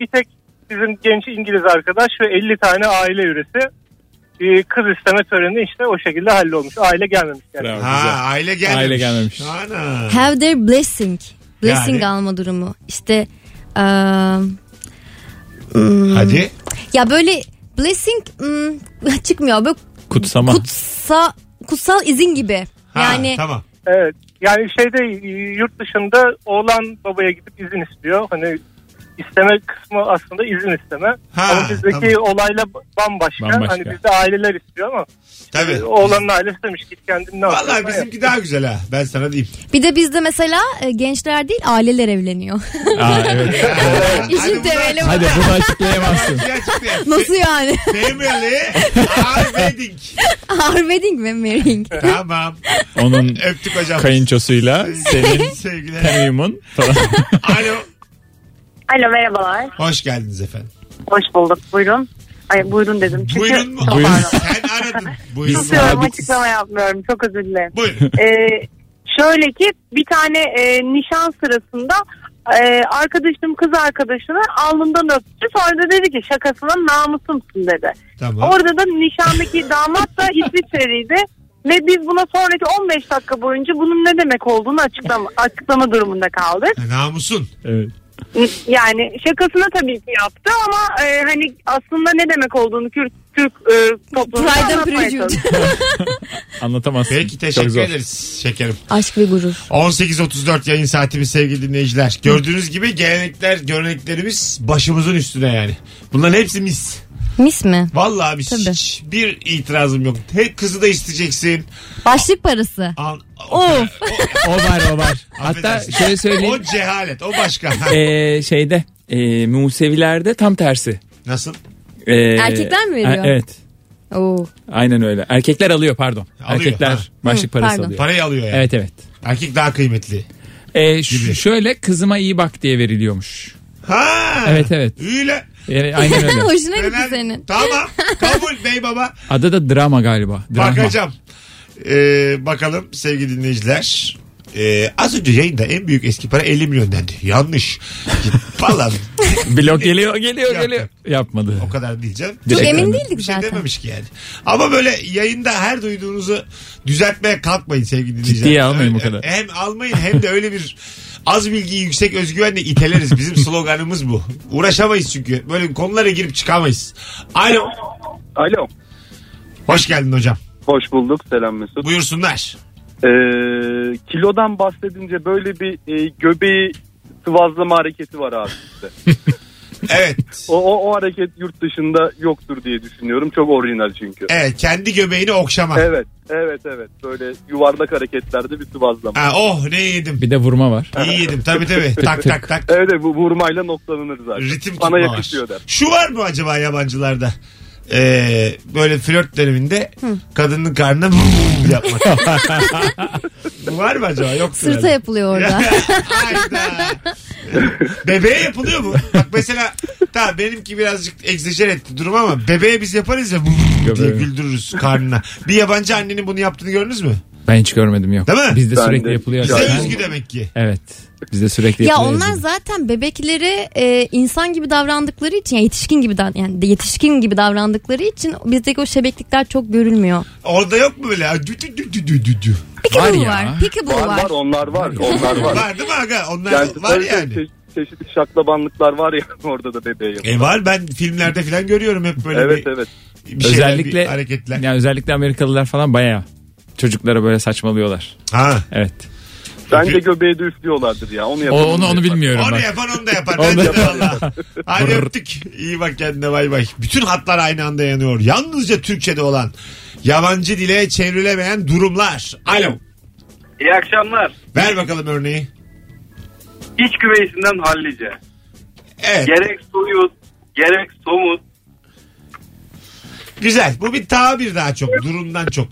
[SPEAKER 9] bir tek bizim genç İngiliz arkadaş ve 50 tane aile üresi e, kız isteme töreni işte o şekilde hallolmuş. Aile gelmemiş yani.
[SPEAKER 4] Bravo,
[SPEAKER 2] Ha
[SPEAKER 4] güzel.
[SPEAKER 2] aile gelmemiş.
[SPEAKER 4] Aile gelmemiş.
[SPEAKER 2] Ana.
[SPEAKER 3] Have their blessing. Blessing
[SPEAKER 2] Yani?
[SPEAKER 3] alma durumu. İşte eee,
[SPEAKER 2] Hadi.
[SPEAKER 3] ya böyle blessing hmm, çıkmıyor. Böyle
[SPEAKER 4] Kutsama.
[SPEAKER 3] kutsa, kutsal izin gibi.
[SPEAKER 2] Ha,
[SPEAKER 3] yani
[SPEAKER 2] tamam.
[SPEAKER 9] Evet. Yani şeyde e, yurt dışında oğlan babaya gidip izin istiyor. Hani isteme kısmı aslında izin isteme.
[SPEAKER 2] Ha,
[SPEAKER 9] ama bizdeki olayla bambaşka.
[SPEAKER 4] Bambaşka.
[SPEAKER 9] Hani bizde aileler istiyor ama e,
[SPEAKER 2] Tabii.
[SPEAKER 9] oğlanın ailesi demiş git kendin ne
[SPEAKER 2] Vallahi
[SPEAKER 9] yaparsan yap.
[SPEAKER 2] bizimki daha güzel ha. Ben sana diyeyim.
[SPEAKER 3] bir de bizde mesela e, gençler değil aileler evleniyor.
[SPEAKER 4] Aa, evet.
[SPEAKER 3] İşin
[SPEAKER 2] bunu
[SPEAKER 3] temeli
[SPEAKER 2] aç.
[SPEAKER 3] bu.
[SPEAKER 4] Hadi bunu açıklayamazsın.
[SPEAKER 2] Gerçekten.
[SPEAKER 3] Nasıl yani?
[SPEAKER 2] Family are wedding.
[SPEAKER 3] Our wedding ve marrying.
[SPEAKER 2] Tamam.
[SPEAKER 4] Onun
[SPEAKER 2] Öptük hocam.
[SPEAKER 4] kayınçosuyla senin
[SPEAKER 2] Sevgiler.
[SPEAKER 4] temiyumun falan.
[SPEAKER 2] Alo.
[SPEAKER 7] Alo merhabalar.
[SPEAKER 2] Hoş geldiniz efendim.
[SPEAKER 7] Hoş bulduk. Buyurun. Ay buyurun dedim. Çünkü...
[SPEAKER 2] Buyurun mu?
[SPEAKER 7] Çok
[SPEAKER 4] Buyurun.
[SPEAKER 7] pardon.
[SPEAKER 2] Sen aradın. Buyurun.
[SPEAKER 4] Biz-
[SPEAKER 7] Susuyorum
[SPEAKER 4] Sabitiz.
[SPEAKER 7] açıklama yapmıyorum. Çok özür dilerim.
[SPEAKER 2] Buyurun.
[SPEAKER 7] Ee, şöyle ki bir tane e, nişan sırasında e, arkadaşım kız arkadaşını alnından öptü. Sonra da dedi ki şakasına namusumsun dedi.
[SPEAKER 2] Tamam.
[SPEAKER 7] Orada da nişandaki damat da İsviçreliydi. Ve biz buna sonraki 15 dakika boyunca bunun ne demek olduğunu açıklama, açıklama durumunda kaldık.
[SPEAKER 2] Ha, Namusun.
[SPEAKER 4] Evet.
[SPEAKER 7] Yani şakasına tabii ki yaptı ama e, hani aslında ne demek olduğunu Türk, Türk e, toplumunda
[SPEAKER 3] Pride and
[SPEAKER 7] anlatmaya çalıştı.
[SPEAKER 3] Prejudice.
[SPEAKER 4] Anlatamazsın.
[SPEAKER 2] Peki
[SPEAKER 4] Çok
[SPEAKER 2] teşekkür
[SPEAKER 4] zor.
[SPEAKER 2] ederiz şekerim.
[SPEAKER 3] Aşk ve gurur.
[SPEAKER 2] 18.34 yayın saatimiz sevgili dinleyiciler. Gördüğünüz gibi gelenekler, göreneklerimiz başımızın üstüne yani. Bunların hepsi mis.
[SPEAKER 3] Mis mi?
[SPEAKER 2] Vallahi biz
[SPEAKER 3] Tabii.
[SPEAKER 2] hiçbir itirazım yok. Hep kızı da isteyeceksin.
[SPEAKER 3] Başlık parası.
[SPEAKER 2] An-
[SPEAKER 3] Of.
[SPEAKER 4] O var o var. Hatta
[SPEAKER 2] Affedersin.
[SPEAKER 4] şöyle söyleyeyim.
[SPEAKER 2] O cehalet, o başka. Ha,
[SPEAKER 4] Ee, şeyde e, Musevilerde tam tersi.
[SPEAKER 2] Nasıl?
[SPEAKER 4] Ee,
[SPEAKER 3] Erkekler mi veriyor?
[SPEAKER 4] e- Evet.
[SPEAKER 3] Oo.
[SPEAKER 4] Aynen öyle. Erkekler alıyor pardon.
[SPEAKER 2] Alıyor,
[SPEAKER 4] Erkekler
[SPEAKER 2] ha.
[SPEAKER 4] başlık
[SPEAKER 3] Hı,
[SPEAKER 4] parası
[SPEAKER 3] pardon.
[SPEAKER 4] alıyor.
[SPEAKER 2] Parayı alıyor yani.
[SPEAKER 4] Evet evet.
[SPEAKER 2] Erkek daha kıymetli.
[SPEAKER 4] Ee, ş-
[SPEAKER 2] Gibi.
[SPEAKER 4] şöyle kızıma iyi bak diye veriliyormuş.
[SPEAKER 2] Ha.
[SPEAKER 4] Evet, evet.
[SPEAKER 2] Öyle.
[SPEAKER 4] Yani aynen öyle.
[SPEAKER 3] Hoşuna gitti
[SPEAKER 2] Önemli.
[SPEAKER 3] senin.
[SPEAKER 2] Tamam. Kabul bey baba.
[SPEAKER 4] Adı da drama galiba. Drama.
[SPEAKER 2] Bakacağım. Ee, bakalım sevgili dinleyiciler. Ee, az önce yayında en büyük eski para 50 milyon dendi. Yanlış. Valla
[SPEAKER 4] Blok geliyor geliyor
[SPEAKER 2] Yok,
[SPEAKER 4] geliyor.
[SPEAKER 2] yok.
[SPEAKER 4] Yapmadı.
[SPEAKER 2] o kadar diyeceğim.
[SPEAKER 3] Çok
[SPEAKER 4] Direkt
[SPEAKER 3] emin
[SPEAKER 4] öyle.
[SPEAKER 3] değildik
[SPEAKER 2] Bir şey
[SPEAKER 3] zaten.
[SPEAKER 2] dememiş ki yani. Ama böyle yayında her duyduğunuzu düzeltmeye kalkmayın sevgili dinleyiciler.
[SPEAKER 4] Ciddiye almayın bu
[SPEAKER 2] Öyle-
[SPEAKER 4] kadar.
[SPEAKER 2] Hem almayın hem de öyle bir az bilgiyi yüksek özgüvenle iteleriz. Bizim sloganımız bu. Uğraşamayız çünkü. Böyle konulara girip çıkamayız. Alo.
[SPEAKER 10] Alo.
[SPEAKER 2] Hoş geldin hocam.
[SPEAKER 10] Hoş bulduk. Selam Mesut.
[SPEAKER 2] Buyursunlar.
[SPEAKER 10] Ee, kilodan bahsedince böyle bir e, göbeği sıvazlama hareketi var abi işte.
[SPEAKER 2] Evet.
[SPEAKER 10] O, o, o hareket yurt dışında yoktur diye düşünüyorum. Çok orijinal çünkü.
[SPEAKER 2] Evet kendi göbeğini okşama.
[SPEAKER 10] Evet, evet, evet. Böyle yuvarlak hareketlerde bir sıvazlama.
[SPEAKER 2] Ha, oh ne yedim.
[SPEAKER 4] Bir de vurma var.
[SPEAKER 2] İyi yedim tabii tabii. tak tak tak.
[SPEAKER 10] Evet, evet, bu vurmayla noktalanır zaten.
[SPEAKER 2] Ritim tutma
[SPEAKER 10] Bana
[SPEAKER 2] var.
[SPEAKER 10] yakışıyor der.
[SPEAKER 2] Şu var mı acaba yabancılarda? Ee, böyle flört döneminde kadının karnına yapmak. Bu var mı acaba? Yok.
[SPEAKER 3] Sırta yapılıyor orada.
[SPEAKER 2] Hayda. Bebeğe yapılıyor mu? Bak mesela tamam benimki birazcık egzajer etti durum ama bebeğe biz yaparız ya diye
[SPEAKER 4] Göbeğe.
[SPEAKER 2] güldürürüz karnına. Bir yabancı annenin bunu yaptığını gördünüz mü?
[SPEAKER 4] Ben hiç görmedim yok.
[SPEAKER 2] Değil mi?
[SPEAKER 4] Bizde
[SPEAKER 10] Ben
[SPEAKER 4] sürekli
[SPEAKER 10] de.
[SPEAKER 4] yapılıyor.
[SPEAKER 2] Bize
[SPEAKER 4] zaten.
[SPEAKER 2] özgü demek ki.
[SPEAKER 4] Evet. Bizde sürekli
[SPEAKER 3] Ya
[SPEAKER 4] yapılıyor.
[SPEAKER 3] onlar zaten bebeklere e, insan gibi davrandıkları için yani yetişkin gibi da, yani de- yetişkin gibi davrandıkları için bizdeki o şebeklikler çok görülmüyor.
[SPEAKER 2] Orada yok mu böyle? Dü dü dü dü dü dü dü.
[SPEAKER 3] Peekaboo
[SPEAKER 4] ya.
[SPEAKER 3] var. Peekaboo
[SPEAKER 10] Var
[SPEAKER 3] var.
[SPEAKER 10] var onlar var onlar var.
[SPEAKER 2] Var değil mi aga? Onlar
[SPEAKER 10] Yani
[SPEAKER 2] var
[SPEAKER 10] tabii
[SPEAKER 2] yani.
[SPEAKER 10] çe- çeşitli şaklabanlıklar var ya orada da bebeğe yapıyor.
[SPEAKER 2] E var ben filmlerde falan görüyorum hep böyle
[SPEAKER 10] Evet
[SPEAKER 2] bir,
[SPEAKER 10] evet.
[SPEAKER 2] bir şeyler,
[SPEAKER 4] Özellikle-
[SPEAKER 2] bir hareketler.
[SPEAKER 4] Yani özellikle Amerikalılar falan bayağı çocuklara böyle saçmalıyorlar.
[SPEAKER 2] Ha.
[SPEAKER 4] Evet.
[SPEAKER 10] Bence göbeğe de üflüyorlardır ya onu
[SPEAKER 4] O,
[SPEAKER 10] yapalım.
[SPEAKER 4] onu onu bilmiyorum
[SPEAKER 2] Onu
[SPEAKER 4] bak.
[SPEAKER 2] yapan onu da yapar.
[SPEAKER 4] Onu
[SPEAKER 2] Bence
[SPEAKER 4] da
[SPEAKER 2] de
[SPEAKER 4] yapar.
[SPEAKER 2] valla. Hadi öptük. İyi bak kendine bay bay. Bütün hatlar aynı anda yanıyor. Yalnızca Türkçe'de olan yabancı dile çevrilemeyen durumlar. Alo.
[SPEAKER 5] İyi akşamlar.
[SPEAKER 2] Ver bakalım örneği.
[SPEAKER 5] İç güveysinden hallice.
[SPEAKER 2] Evet.
[SPEAKER 5] Gerek soyut, gerek somut.
[SPEAKER 2] Güzel. Bu bir tabir daha çok. Durumdan çok.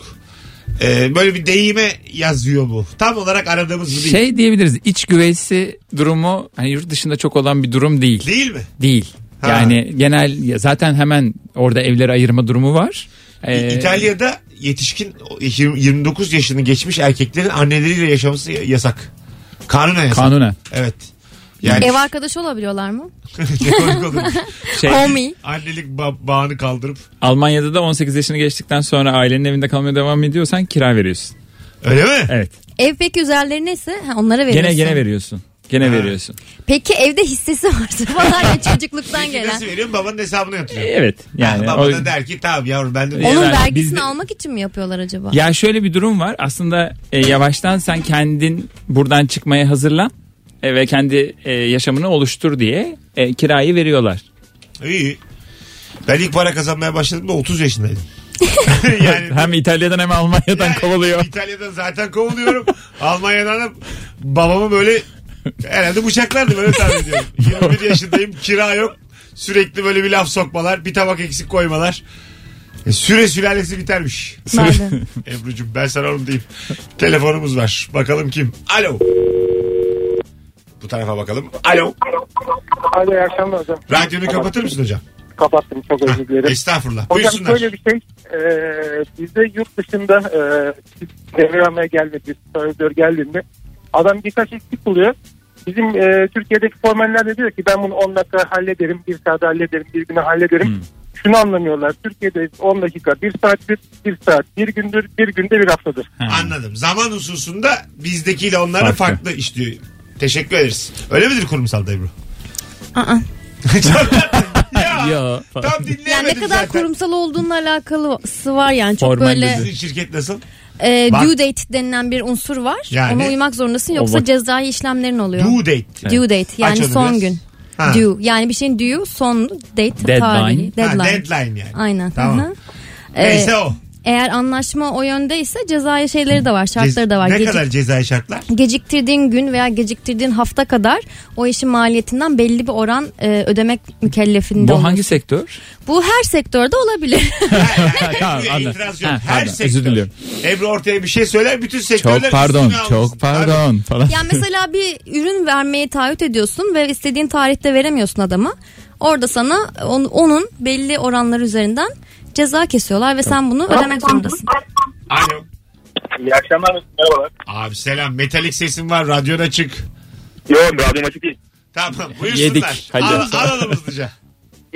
[SPEAKER 2] Ee, böyle bir deyime yazıyor bu. Tam olarak aradığımız bu değil.
[SPEAKER 4] Şey diyebiliriz iç güveysi durumu hani yurt dışında çok olan bir durum değil.
[SPEAKER 2] Değil mi?
[SPEAKER 4] Değil.
[SPEAKER 2] Ha.
[SPEAKER 4] Yani genel ya zaten hemen orada evleri ayırma durumu var.
[SPEAKER 2] İ-
[SPEAKER 4] Ee,
[SPEAKER 2] İtalya'da yetişkin o- yirmi- 29 yaşını geçmiş erkeklerin anneleriyle yaşaması y- yasak. Kanunen yasak.
[SPEAKER 4] kanunen.
[SPEAKER 2] Evet. Yani
[SPEAKER 3] Ev arkadaşı olabiliyorlar mı?
[SPEAKER 2] Ne komik olur.
[SPEAKER 4] Şey,
[SPEAKER 3] Homie.
[SPEAKER 2] annelik ba- bağını kaldırıp
[SPEAKER 4] Almanya'da da 18 yaşını geçtikten sonra ailenin evinde kalmaya devam ediyorsan kira veriyorsun.
[SPEAKER 2] öyle mi?
[SPEAKER 4] Evet.
[SPEAKER 3] Ev peki üzerleri neyse ha, onlara veriyorsun.
[SPEAKER 4] Gene gene veriyorsun. Gene
[SPEAKER 2] Ha.
[SPEAKER 4] veriyorsun.
[SPEAKER 3] Peki evde hissesi varsa falan ya çocukluktan
[SPEAKER 2] Peki
[SPEAKER 3] gelen.
[SPEAKER 2] nasıl veriyorsun? Babanın hesabına yatırıyor.
[SPEAKER 4] Evet. Ee, Yani
[SPEAKER 2] Baba
[SPEAKER 4] o-
[SPEAKER 2] da der ki tamam yavrum ben de
[SPEAKER 4] Ee,
[SPEAKER 3] Onun
[SPEAKER 4] Yani
[SPEAKER 3] vergisini
[SPEAKER 4] bizde-
[SPEAKER 3] almak için mi yapıyorlar acaba?
[SPEAKER 4] Ya şöyle bir durum var. Aslında e, yavaştan sen kendin buradan çıkmaya hazırlan e, ve kendi e, yaşamını oluştur diye e, kirayı veriyorlar.
[SPEAKER 2] İyi. Ben ilk para kazanmaya başladığımda 30 yaşındaydım. yani
[SPEAKER 4] Hem İtalya'dan hem Almanya'dan
[SPEAKER 2] Yani
[SPEAKER 4] kovalıyor.
[SPEAKER 2] İtalya'dan zaten kovuluyorum. Almanya'dan da babamı böyle herhalde bıçaklardı böyle tahmin ediyorum. 21 yaşındayım kira yok. Sürekli böyle bir laf sokmalar. Bir tabak eksik koymalar. E, süre sülalesi bitermiş.
[SPEAKER 3] Nerede?
[SPEAKER 2] Ebru'cum ben sana onu diyeyim. Telefonumuz var. Bakalım kim? Alo. Bu tarafa bakalım. Alo.
[SPEAKER 9] Alo iyi akşamlar hocam.
[SPEAKER 2] Radyonu kapatır mısın hocam?
[SPEAKER 9] Kapattım çok özür dilerim.
[SPEAKER 2] Estağfurullah.
[SPEAKER 9] Hocam
[SPEAKER 2] Buyursunlar.
[SPEAKER 9] şöyle bir şey. E, bizde yurt dışında e, devreme gelmedi. Sözler geldiğinde adam birkaç eksik buluyor. Bizim e, Türkiye'deki formeller de diyor ki ben bunu 10 dakika hallederim, bir saat hallederim, bir güne hallederim. Şunu anlamıyorlar. Türkiye'de 10 dakika, bir saat, bir, bir saat, bir gündür, bir günde bir haftadır.
[SPEAKER 2] Anladım. Zaman hususunda bizdekiyle onlara farklı,
[SPEAKER 4] Farklı.
[SPEAKER 2] işliyor. Teşekkür ederiz. Öyle midir kurumsalda Ebru?
[SPEAKER 3] Aa.
[SPEAKER 2] Çok tatlı. ya,
[SPEAKER 4] Ya.
[SPEAKER 2] tam
[SPEAKER 3] Yani
[SPEAKER 2] dinleyemedim
[SPEAKER 3] ne kadar
[SPEAKER 2] zaten.
[SPEAKER 3] kurumsal olduğunla alakalısı var yani. Çok
[SPEAKER 4] Formal
[SPEAKER 3] böyle
[SPEAKER 4] dedi.
[SPEAKER 2] Sizin şirket nasıl?
[SPEAKER 3] e,
[SPEAKER 2] Bak.
[SPEAKER 3] due date denilen bir unsur var.
[SPEAKER 2] Yani-
[SPEAKER 3] Ona uymak zorundasın yoksa
[SPEAKER 4] O bak-
[SPEAKER 3] cezai işlemlerin oluyor.
[SPEAKER 2] Due date.
[SPEAKER 3] Due date yani
[SPEAKER 2] Aç onu
[SPEAKER 3] son
[SPEAKER 2] biraz.
[SPEAKER 3] gün.
[SPEAKER 2] Ha.
[SPEAKER 3] Due yani bir şeyin due son date
[SPEAKER 4] Deadline.
[SPEAKER 3] tarihi.
[SPEAKER 2] Ha,
[SPEAKER 3] Deadline.
[SPEAKER 2] deadline yani.
[SPEAKER 3] Aynen.
[SPEAKER 2] Tamam.
[SPEAKER 3] Hı hı. Ee,
[SPEAKER 2] Neyse o.
[SPEAKER 3] eğer anlaşma o yönde ise cezai şeyleri de var, şartları
[SPEAKER 2] Cez-
[SPEAKER 3] da var.
[SPEAKER 2] Ne
[SPEAKER 3] Gecik-
[SPEAKER 2] kadar cezai şartlar?
[SPEAKER 3] Geciktirdiğin gün veya geciktirdiğin hafta kadar o işin maliyetinden belli bir oran e, ödemek mükellefinde
[SPEAKER 4] Bu
[SPEAKER 3] olur.
[SPEAKER 4] hangi sektör?
[SPEAKER 3] Bu her sektörde olabilir.
[SPEAKER 4] Tamam,
[SPEAKER 2] Ebru'ya
[SPEAKER 4] anladım.
[SPEAKER 2] itiraz yok.
[SPEAKER 4] Ha,
[SPEAKER 2] Her
[SPEAKER 4] pardon,
[SPEAKER 2] sektör.
[SPEAKER 4] özür diliyorum.
[SPEAKER 2] Ebru ortaya bir şey söyler. Bütün sektörler
[SPEAKER 4] Çok pardon,
[SPEAKER 2] üstüne almış.
[SPEAKER 4] çok pardon falan.
[SPEAKER 3] yani mesela bir ürün vermeye taahhüt ediyorsun ve istediğin tarihte veremiyorsun adama. Orada sana on- onun belli oranlar üzerinden ceza kesiyorlar ve sen bunu ödemek zorundasın.
[SPEAKER 2] Tabii. Alo.
[SPEAKER 5] İyi akşamlar. Merhabalar.
[SPEAKER 2] Abi selam. Metalik sesin var. Radyon açık.
[SPEAKER 5] Yok radyom açık değil.
[SPEAKER 2] Tamam
[SPEAKER 4] Yedik.
[SPEAKER 2] buyursunlar.
[SPEAKER 4] Hadi.
[SPEAKER 2] Al, alalım hızlıca.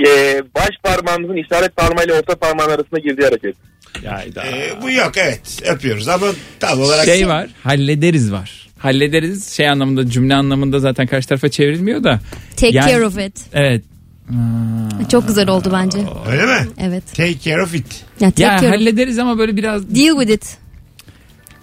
[SPEAKER 5] Ee, baş parmağımızın işaret parmağıyla orta parmağın arasında girdiği hareket.
[SPEAKER 2] Ee, bu yok evet. Öpüyoruz ama tam olarak.
[SPEAKER 4] şey var hallederiz var. Hallederiz şey anlamında cümle anlamında zaten karşı tarafa çevrilmiyor da.
[SPEAKER 3] Take
[SPEAKER 4] Yani-
[SPEAKER 3] care of it.
[SPEAKER 4] Evet.
[SPEAKER 3] Çok güzel oldu bence.
[SPEAKER 2] Öyle mi?
[SPEAKER 3] Evet.
[SPEAKER 2] Take care of it.
[SPEAKER 3] Ya take
[SPEAKER 4] Ya
[SPEAKER 3] care of-
[SPEAKER 4] hallederiz ama böyle biraz
[SPEAKER 3] Deal with it.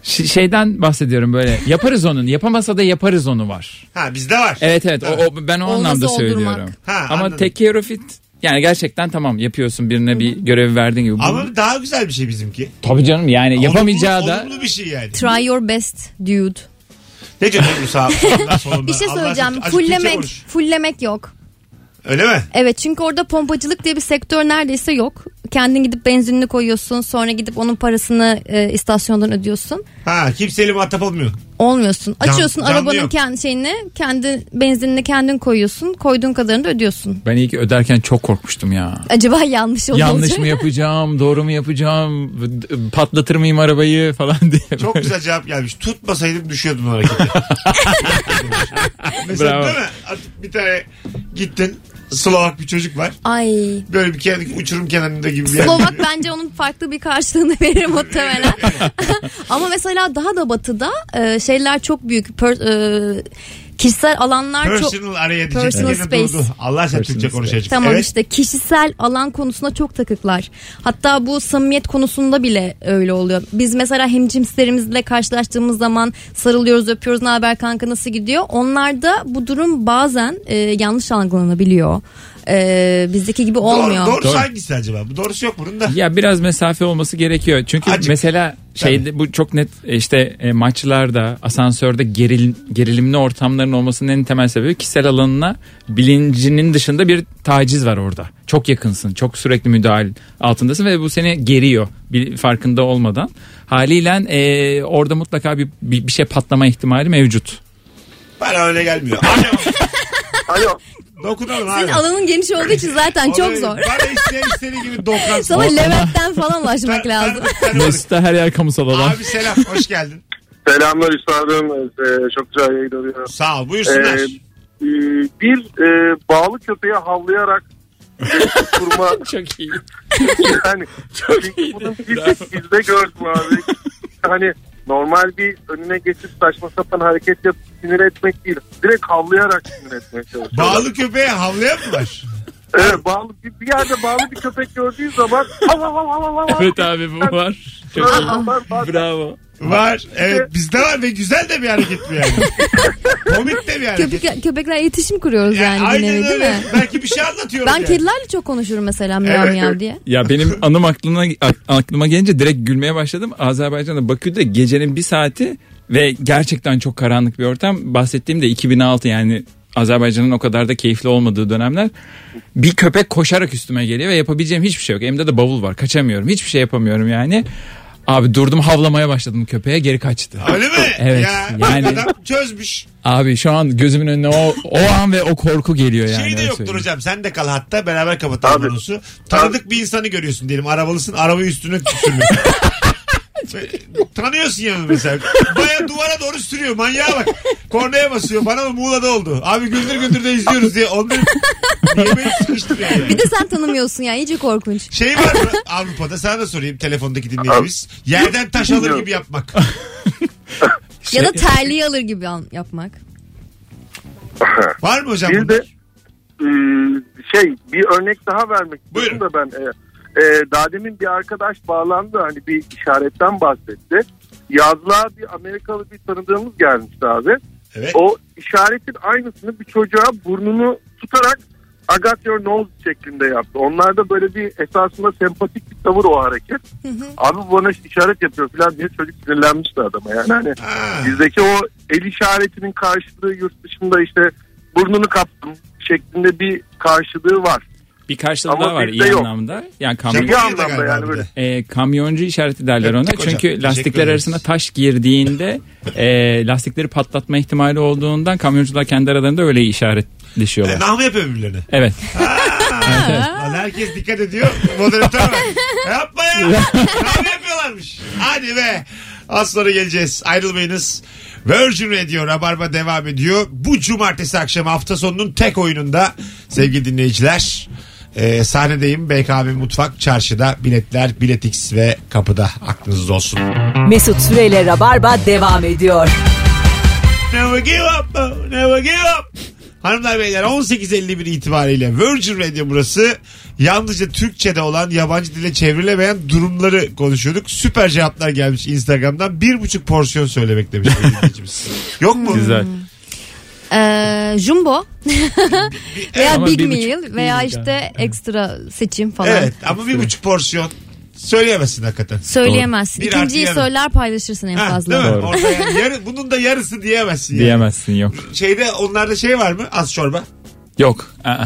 [SPEAKER 4] ş- şeyden bahsediyorum böyle. Yaparız onun. Yapamasa da yaparız onu var.
[SPEAKER 2] Ha bizde var.
[SPEAKER 4] Evet evet. O, o- ben o
[SPEAKER 3] Olmazı
[SPEAKER 4] anlamda
[SPEAKER 3] oldurmak.
[SPEAKER 4] söylüyorum.
[SPEAKER 2] Ha,
[SPEAKER 4] ama
[SPEAKER 2] anladım.
[SPEAKER 4] take care of it yani gerçekten tamam yapıyorsun birine bir görev verdiğin gibi. Bu-
[SPEAKER 2] Ama daha güzel bir şey bizimki.
[SPEAKER 4] Tabii canım yani E, yapamayacağı
[SPEAKER 2] olumlu,
[SPEAKER 4] da
[SPEAKER 2] Olumlu bir şey yani.
[SPEAKER 3] Try your best dude.
[SPEAKER 2] Ne diyorsun Ebru sağ solundan, solundan?
[SPEAKER 3] Bir şey
[SPEAKER 2] Allah
[SPEAKER 3] söyleyeceğim.
[SPEAKER 2] aşkına, azıcık Türkçe
[SPEAKER 3] Fullemek,
[SPEAKER 2] konuş.
[SPEAKER 3] fullemek yok.
[SPEAKER 2] Öyle mi?
[SPEAKER 3] Evet çünkü orada pompacılık diye bir sektör neredeyse yok. Kendin gidip benzinini koyuyorsun sonra gidip onun parasını e, istasyondan ödüyorsun.
[SPEAKER 2] Ha kimseyle muhatap olmuyor.
[SPEAKER 3] Olmuyorsun.
[SPEAKER 2] Cam-
[SPEAKER 3] Açıyorsun
[SPEAKER 2] camlı
[SPEAKER 3] arabanın
[SPEAKER 2] yok.
[SPEAKER 3] kendi şeyini, kendi benzinini kendin koyuyorsun. Koyduğun kadarını da ödüyorsun.
[SPEAKER 4] Ben iyi ki öderken çok korkmuştum ya.
[SPEAKER 3] Acaba yanlış olacak.
[SPEAKER 4] Yanlış mı yapacağım, doğru mu yapacağım, patlatır mıyım arabayı falan diye.
[SPEAKER 2] Çok güzel cevap gelmiş. Tutmasaydım düşüyordun harekete. Mesela
[SPEAKER 4] Bravo.
[SPEAKER 2] değil mi? At- Bir tane gittin. Slovak bir çocuk var.
[SPEAKER 3] Ay.
[SPEAKER 2] Böyle bir kendi uçurum kenarında gibi bir yer.
[SPEAKER 3] Slovak bence onun farklı bir karşılığını verir muhtemelen. Ama mesela daha da batıda e, şeyler çok büyük. Per- e, kişisel alanlar çok...
[SPEAKER 2] Personal araya diyecek.
[SPEAKER 3] Personal
[SPEAKER 2] Gene
[SPEAKER 3] space.
[SPEAKER 2] durdu. Allah sen
[SPEAKER 4] Personal
[SPEAKER 2] Türkçe
[SPEAKER 4] space.
[SPEAKER 2] konuşacak.
[SPEAKER 3] Tamam
[SPEAKER 2] evet.
[SPEAKER 3] işte kişisel alan konusunda çok takıklar. Hatta bu samimiyet konusunda bile öyle oluyor. Biz mesela hemcimslerimizle karşılaştığımız zaman sarılıyoruz, öpüyoruz. Ne haber kanka nasıl gidiyor? Onlarda bu durum bazen e, yanlış algılanabiliyor. E, bizdeki gibi olmuyor.
[SPEAKER 2] Doğru, doğrusu
[SPEAKER 4] Doğru.
[SPEAKER 2] hangisi acaba? Bu Doğrusu yok bunun da.
[SPEAKER 4] Ya biraz mesafe olması gerekiyor. Çünkü
[SPEAKER 2] Acık.
[SPEAKER 4] mesela şeyde bu çok net işte e, maçlarda, asansörde geril, gerilimli ortamların olmasının en temel sebebi kişisel alanına bilincinin dışında bir taciz var orada. Çok yakınsın, çok sürekli müdahale altındasın ve bu seni geriyor bir farkında olmadan. Haliyle e, orada mutlaka bir, bir bir şey patlama ihtimali mevcut.
[SPEAKER 2] Bana öyle gelmiyor. Alo.
[SPEAKER 9] Alo.
[SPEAKER 2] Dokunalım
[SPEAKER 3] Senin
[SPEAKER 2] abi.
[SPEAKER 3] alanın geniş olduğu için zaten çok
[SPEAKER 2] Orayı
[SPEAKER 3] zor.
[SPEAKER 2] Bana isteyen istediği gibi dokansın.
[SPEAKER 3] Sana Levent'ten falan ulaşmak
[SPEAKER 2] Ben- ben-
[SPEAKER 3] lazım.
[SPEAKER 2] ben-
[SPEAKER 4] Mesut'a her yer kamusal alan.
[SPEAKER 2] Abi selam hoş geldin.
[SPEAKER 9] Selamlar üstadım. Ee, çok güzel yayın oluyor.
[SPEAKER 2] Sağ ol buyursunlar.
[SPEAKER 9] Ee, e, bir e, bağlı köpeğe havlayarak iletişim kurma
[SPEAKER 4] Çok iyi.
[SPEAKER 9] yani çünkü bunun bir tek bizde gördüm abi. hani normal bir önüne geçip saçma sapan hareket yapıp sinir etmek değil. Direkt havlayarak sinir etmeye çalışıyor.
[SPEAKER 2] Bağlı köpeğe havlayan mı var?
[SPEAKER 9] Evet, bağlı bir, bir yerde bağlı bir köpek gördüğü zaman hav hav hav hav hav.
[SPEAKER 4] Evet abi bu var. Çok iyi. Bravo.
[SPEAKER 2] Var. Evet bizde var ve güzel de bir hareket mi yani? Komik de bir hareket.
[SPEAKER 3] Köpek, köpekler iletişim kuruyoruz
[SPEAKER 2] Ya,
[SPEAKER 3] yani, bir nevi değil mi?
[SPEAKER 2] Belki bir şey anlatıyorum
[SPEAKER 3] Ben
[SPEAKER 2] yani.
[SPEAKER 3] kedilerle çok konuşurum mesela miyav
[SPEAKER 2] Evet,
[SPEAKER 3] miyav
[SPEAKER 2] evet.
[SPEAKER 3] diye.
[SPEAKER 4] Ya benim anım aklına, aklıma gelince direkt gülmeye başladım. Azerbaycan'da Bakü'de gecenin bir saati ve gerçekten çok karanlık bir ortam. Bahsettiğim de 2006 yani Azerbaycan'ın o kadar da keyifli olmadığı dönemler. Bir köpek koşarak üstüme geliyor ve yapabileceğim hiçbir şey yok. Elimde de bavul var kaçamıyorum hiçbir şey yapamıyorum yani. Abi durdum havlamaya başladım köpeğe geri kaçtı.
[SPEAKER 2] Öyle mi?
[SPEAKER 4] Evet,
[SPEAKER 2] Ya,
[SPEAKER 4] yani-
[SPEAKER 2] Adam çözmüş.
[SPEAKER 4] Abi şu an gözümün önüne o, o an ve o korku geliyor yani.
[SPEAKER 2] şey de
[SPEAKER 4] öyle
[SPEAKER 2] yoktur
[SPEAKER 4] söyleyeyim.
[SPEAKER 2] hocam. Sen de kal hatta beraber kapatalım
[SPEAKER 9] Abi.
[SPEAKER 2] anonsu. Tanıdık bir insanı görüyorsun diyelim. Arabalısın arabayı üstüne sürmüyor. Tanıyorsun yani mesela. Baya duvara doğru sürüyor. Manyağa bak. Kornaya basıyor. Bana mı Muğla'da oldu. Abi güldür güldür de izliyoruz diye. Onları niye beni sıkıştırıyor yani?
[SPEAKER 3] Bir de sen tanımıyorsun yani iyice korkunç.
[SPEAKER 2] Şey var mı Avrupa'da sana da sorayım telefondaki dinleyicimiz. Yerden taş alır gibi yapmak.
[SPEAKER 4] Şey
[SPEAKER 3] Ya da terliği alır gibi an- yapmak.
[SPEAKER 2] Var mı hocam?
[SPEAKER 9] Bir de e, şey bir örnek daha vermek istiyorum da ben e, e, daha demin bir arkadaş bağlandı hani bir işaretten bahsetti. Yazlığa bir Amerikalı bir tanıdığımız gelmişti abi.
[SPEAKER 2] Evet.
[SPEAKER 9] O işaretin aynısını bir çocuğa burnunu tutarak I got your nose şeklinde yaptı. Onlarda böyle bir esasında sempatik bir tavır o hareket. Abi bu bana işaret yapıyor falan diye çocuk sinirlenmişti adama yani. Hani
[SPEAKER 2] Ha.
[SPEAKER 9] Bizdeki o el işaretinin karşılığı yurt dışında işte burnunu kaptım şeklinde bir karşılığı var.
[SPEAKER 4] Bir karşılığı
[SPEAKER 9] Ama
[SPEAKER 4] daha var iyi
[SPEAKER 9] bizde yok.
[SPEAKER 4] anlamda. Yani kamyon-
[SPEAKER 2] Japonya'da
[SPEAKER 9] anlamda
[SPEAKER 2] galiba
[SPEAKER 9] yani
[SPEAKER 2] bir
[SPEAKER 9] böyle.
[SPEAKER 2] de.
[SPEAKER 4] E, kamyoncu işareti derler
[SPEAKER 2] Öptük
[SPEAKER 4] ona.
[SPEAKER 2] hocam.
[SPEAKER 4] Çünkü
[SPEAKER 2] Teşekkür
[SPEAKER 4] lastikler
[SPEAKER 2] ederiz.
[SPEAKER 4] arasına taş girdiğinde e, lastikleri patlatma ihtimali olduğundan kamyoncular kendi aralarında öyle
[SPEAKER 2] E,
[SPEAKER 4] işaretleşiyorlar.
[SPEAKER 2] nah mı yapıyor birbirlerine?
[SPEAKER 4] Evet.
[SPEAKER 2] Lan herkes dikkat ediyor. Moderatör var. Yapma ya. Kahve yapıyorlarmış. Hadi be. Az sonra geleceğiz. Ayrılmayınız. Virgin Radio Rabarba devam ediyor. Bu cumartesi akşamı hafta sonunun tek oyununda sevgili dinleyiciler. e, sahnedeyim BKB Mutfak Çarşı'da biletler Biletix ve kapıda aklınızda olsun.
[SPEAKER 1] Mesut Süreyle Rabarba devam ediyor.
[SPEAKER 2] Never give up, no, never give up. Hanımlar beyler 18.51 itibariyle Virgin Radio burası. Yalnızca Türkçe'de olan yabancı dile çevrilemeyen durumları konuşuyorduk. Süper cevaplar gelmiş Instagram'dan. Bir buçuk porsiyon söylemek demiş bir dinleyicimiz. Yok mu?
[SPEAKER 4] Güzel.
[SPEAKER 3] Ee, jumbo veya
[SPEAKER 4] Ama
[SPEAKER 3] big
[SPEAKER 4] bir buçuk
[SPEAKER 3] meal veya
[SPEAKER 4] değil
[SPEAKER 3] işte ekstra seçim falan.
[SPEAKER 2] Evet ama bir buçuk porsiyon söyleyemezsin hakikaten.
[SPEAKER 3] Söyleyemezsin.
[SPEAKER 2] Doğru. Bir
[SPEAKER 3] İkinciyi
[SPEAKER 2] artı yarım.
[SPEAKER 3] söyler paylaşırsın en
[SPEAKER 2] Ha,
[SPEAKER 3] fazla.
[SPEAKER 2] değil mi?
[SPEAKER 4] Doğru.
[SPEAKER 2] Orada yani yarı- bunun da yarısı diyemezsin. Yani.
[SPEAKER 4] Diyemezsin yok.
[SPEAKER 2] Şeyde onlarda şey var mı? Az çorba.
[SPEAKER 4] Yok. Aa.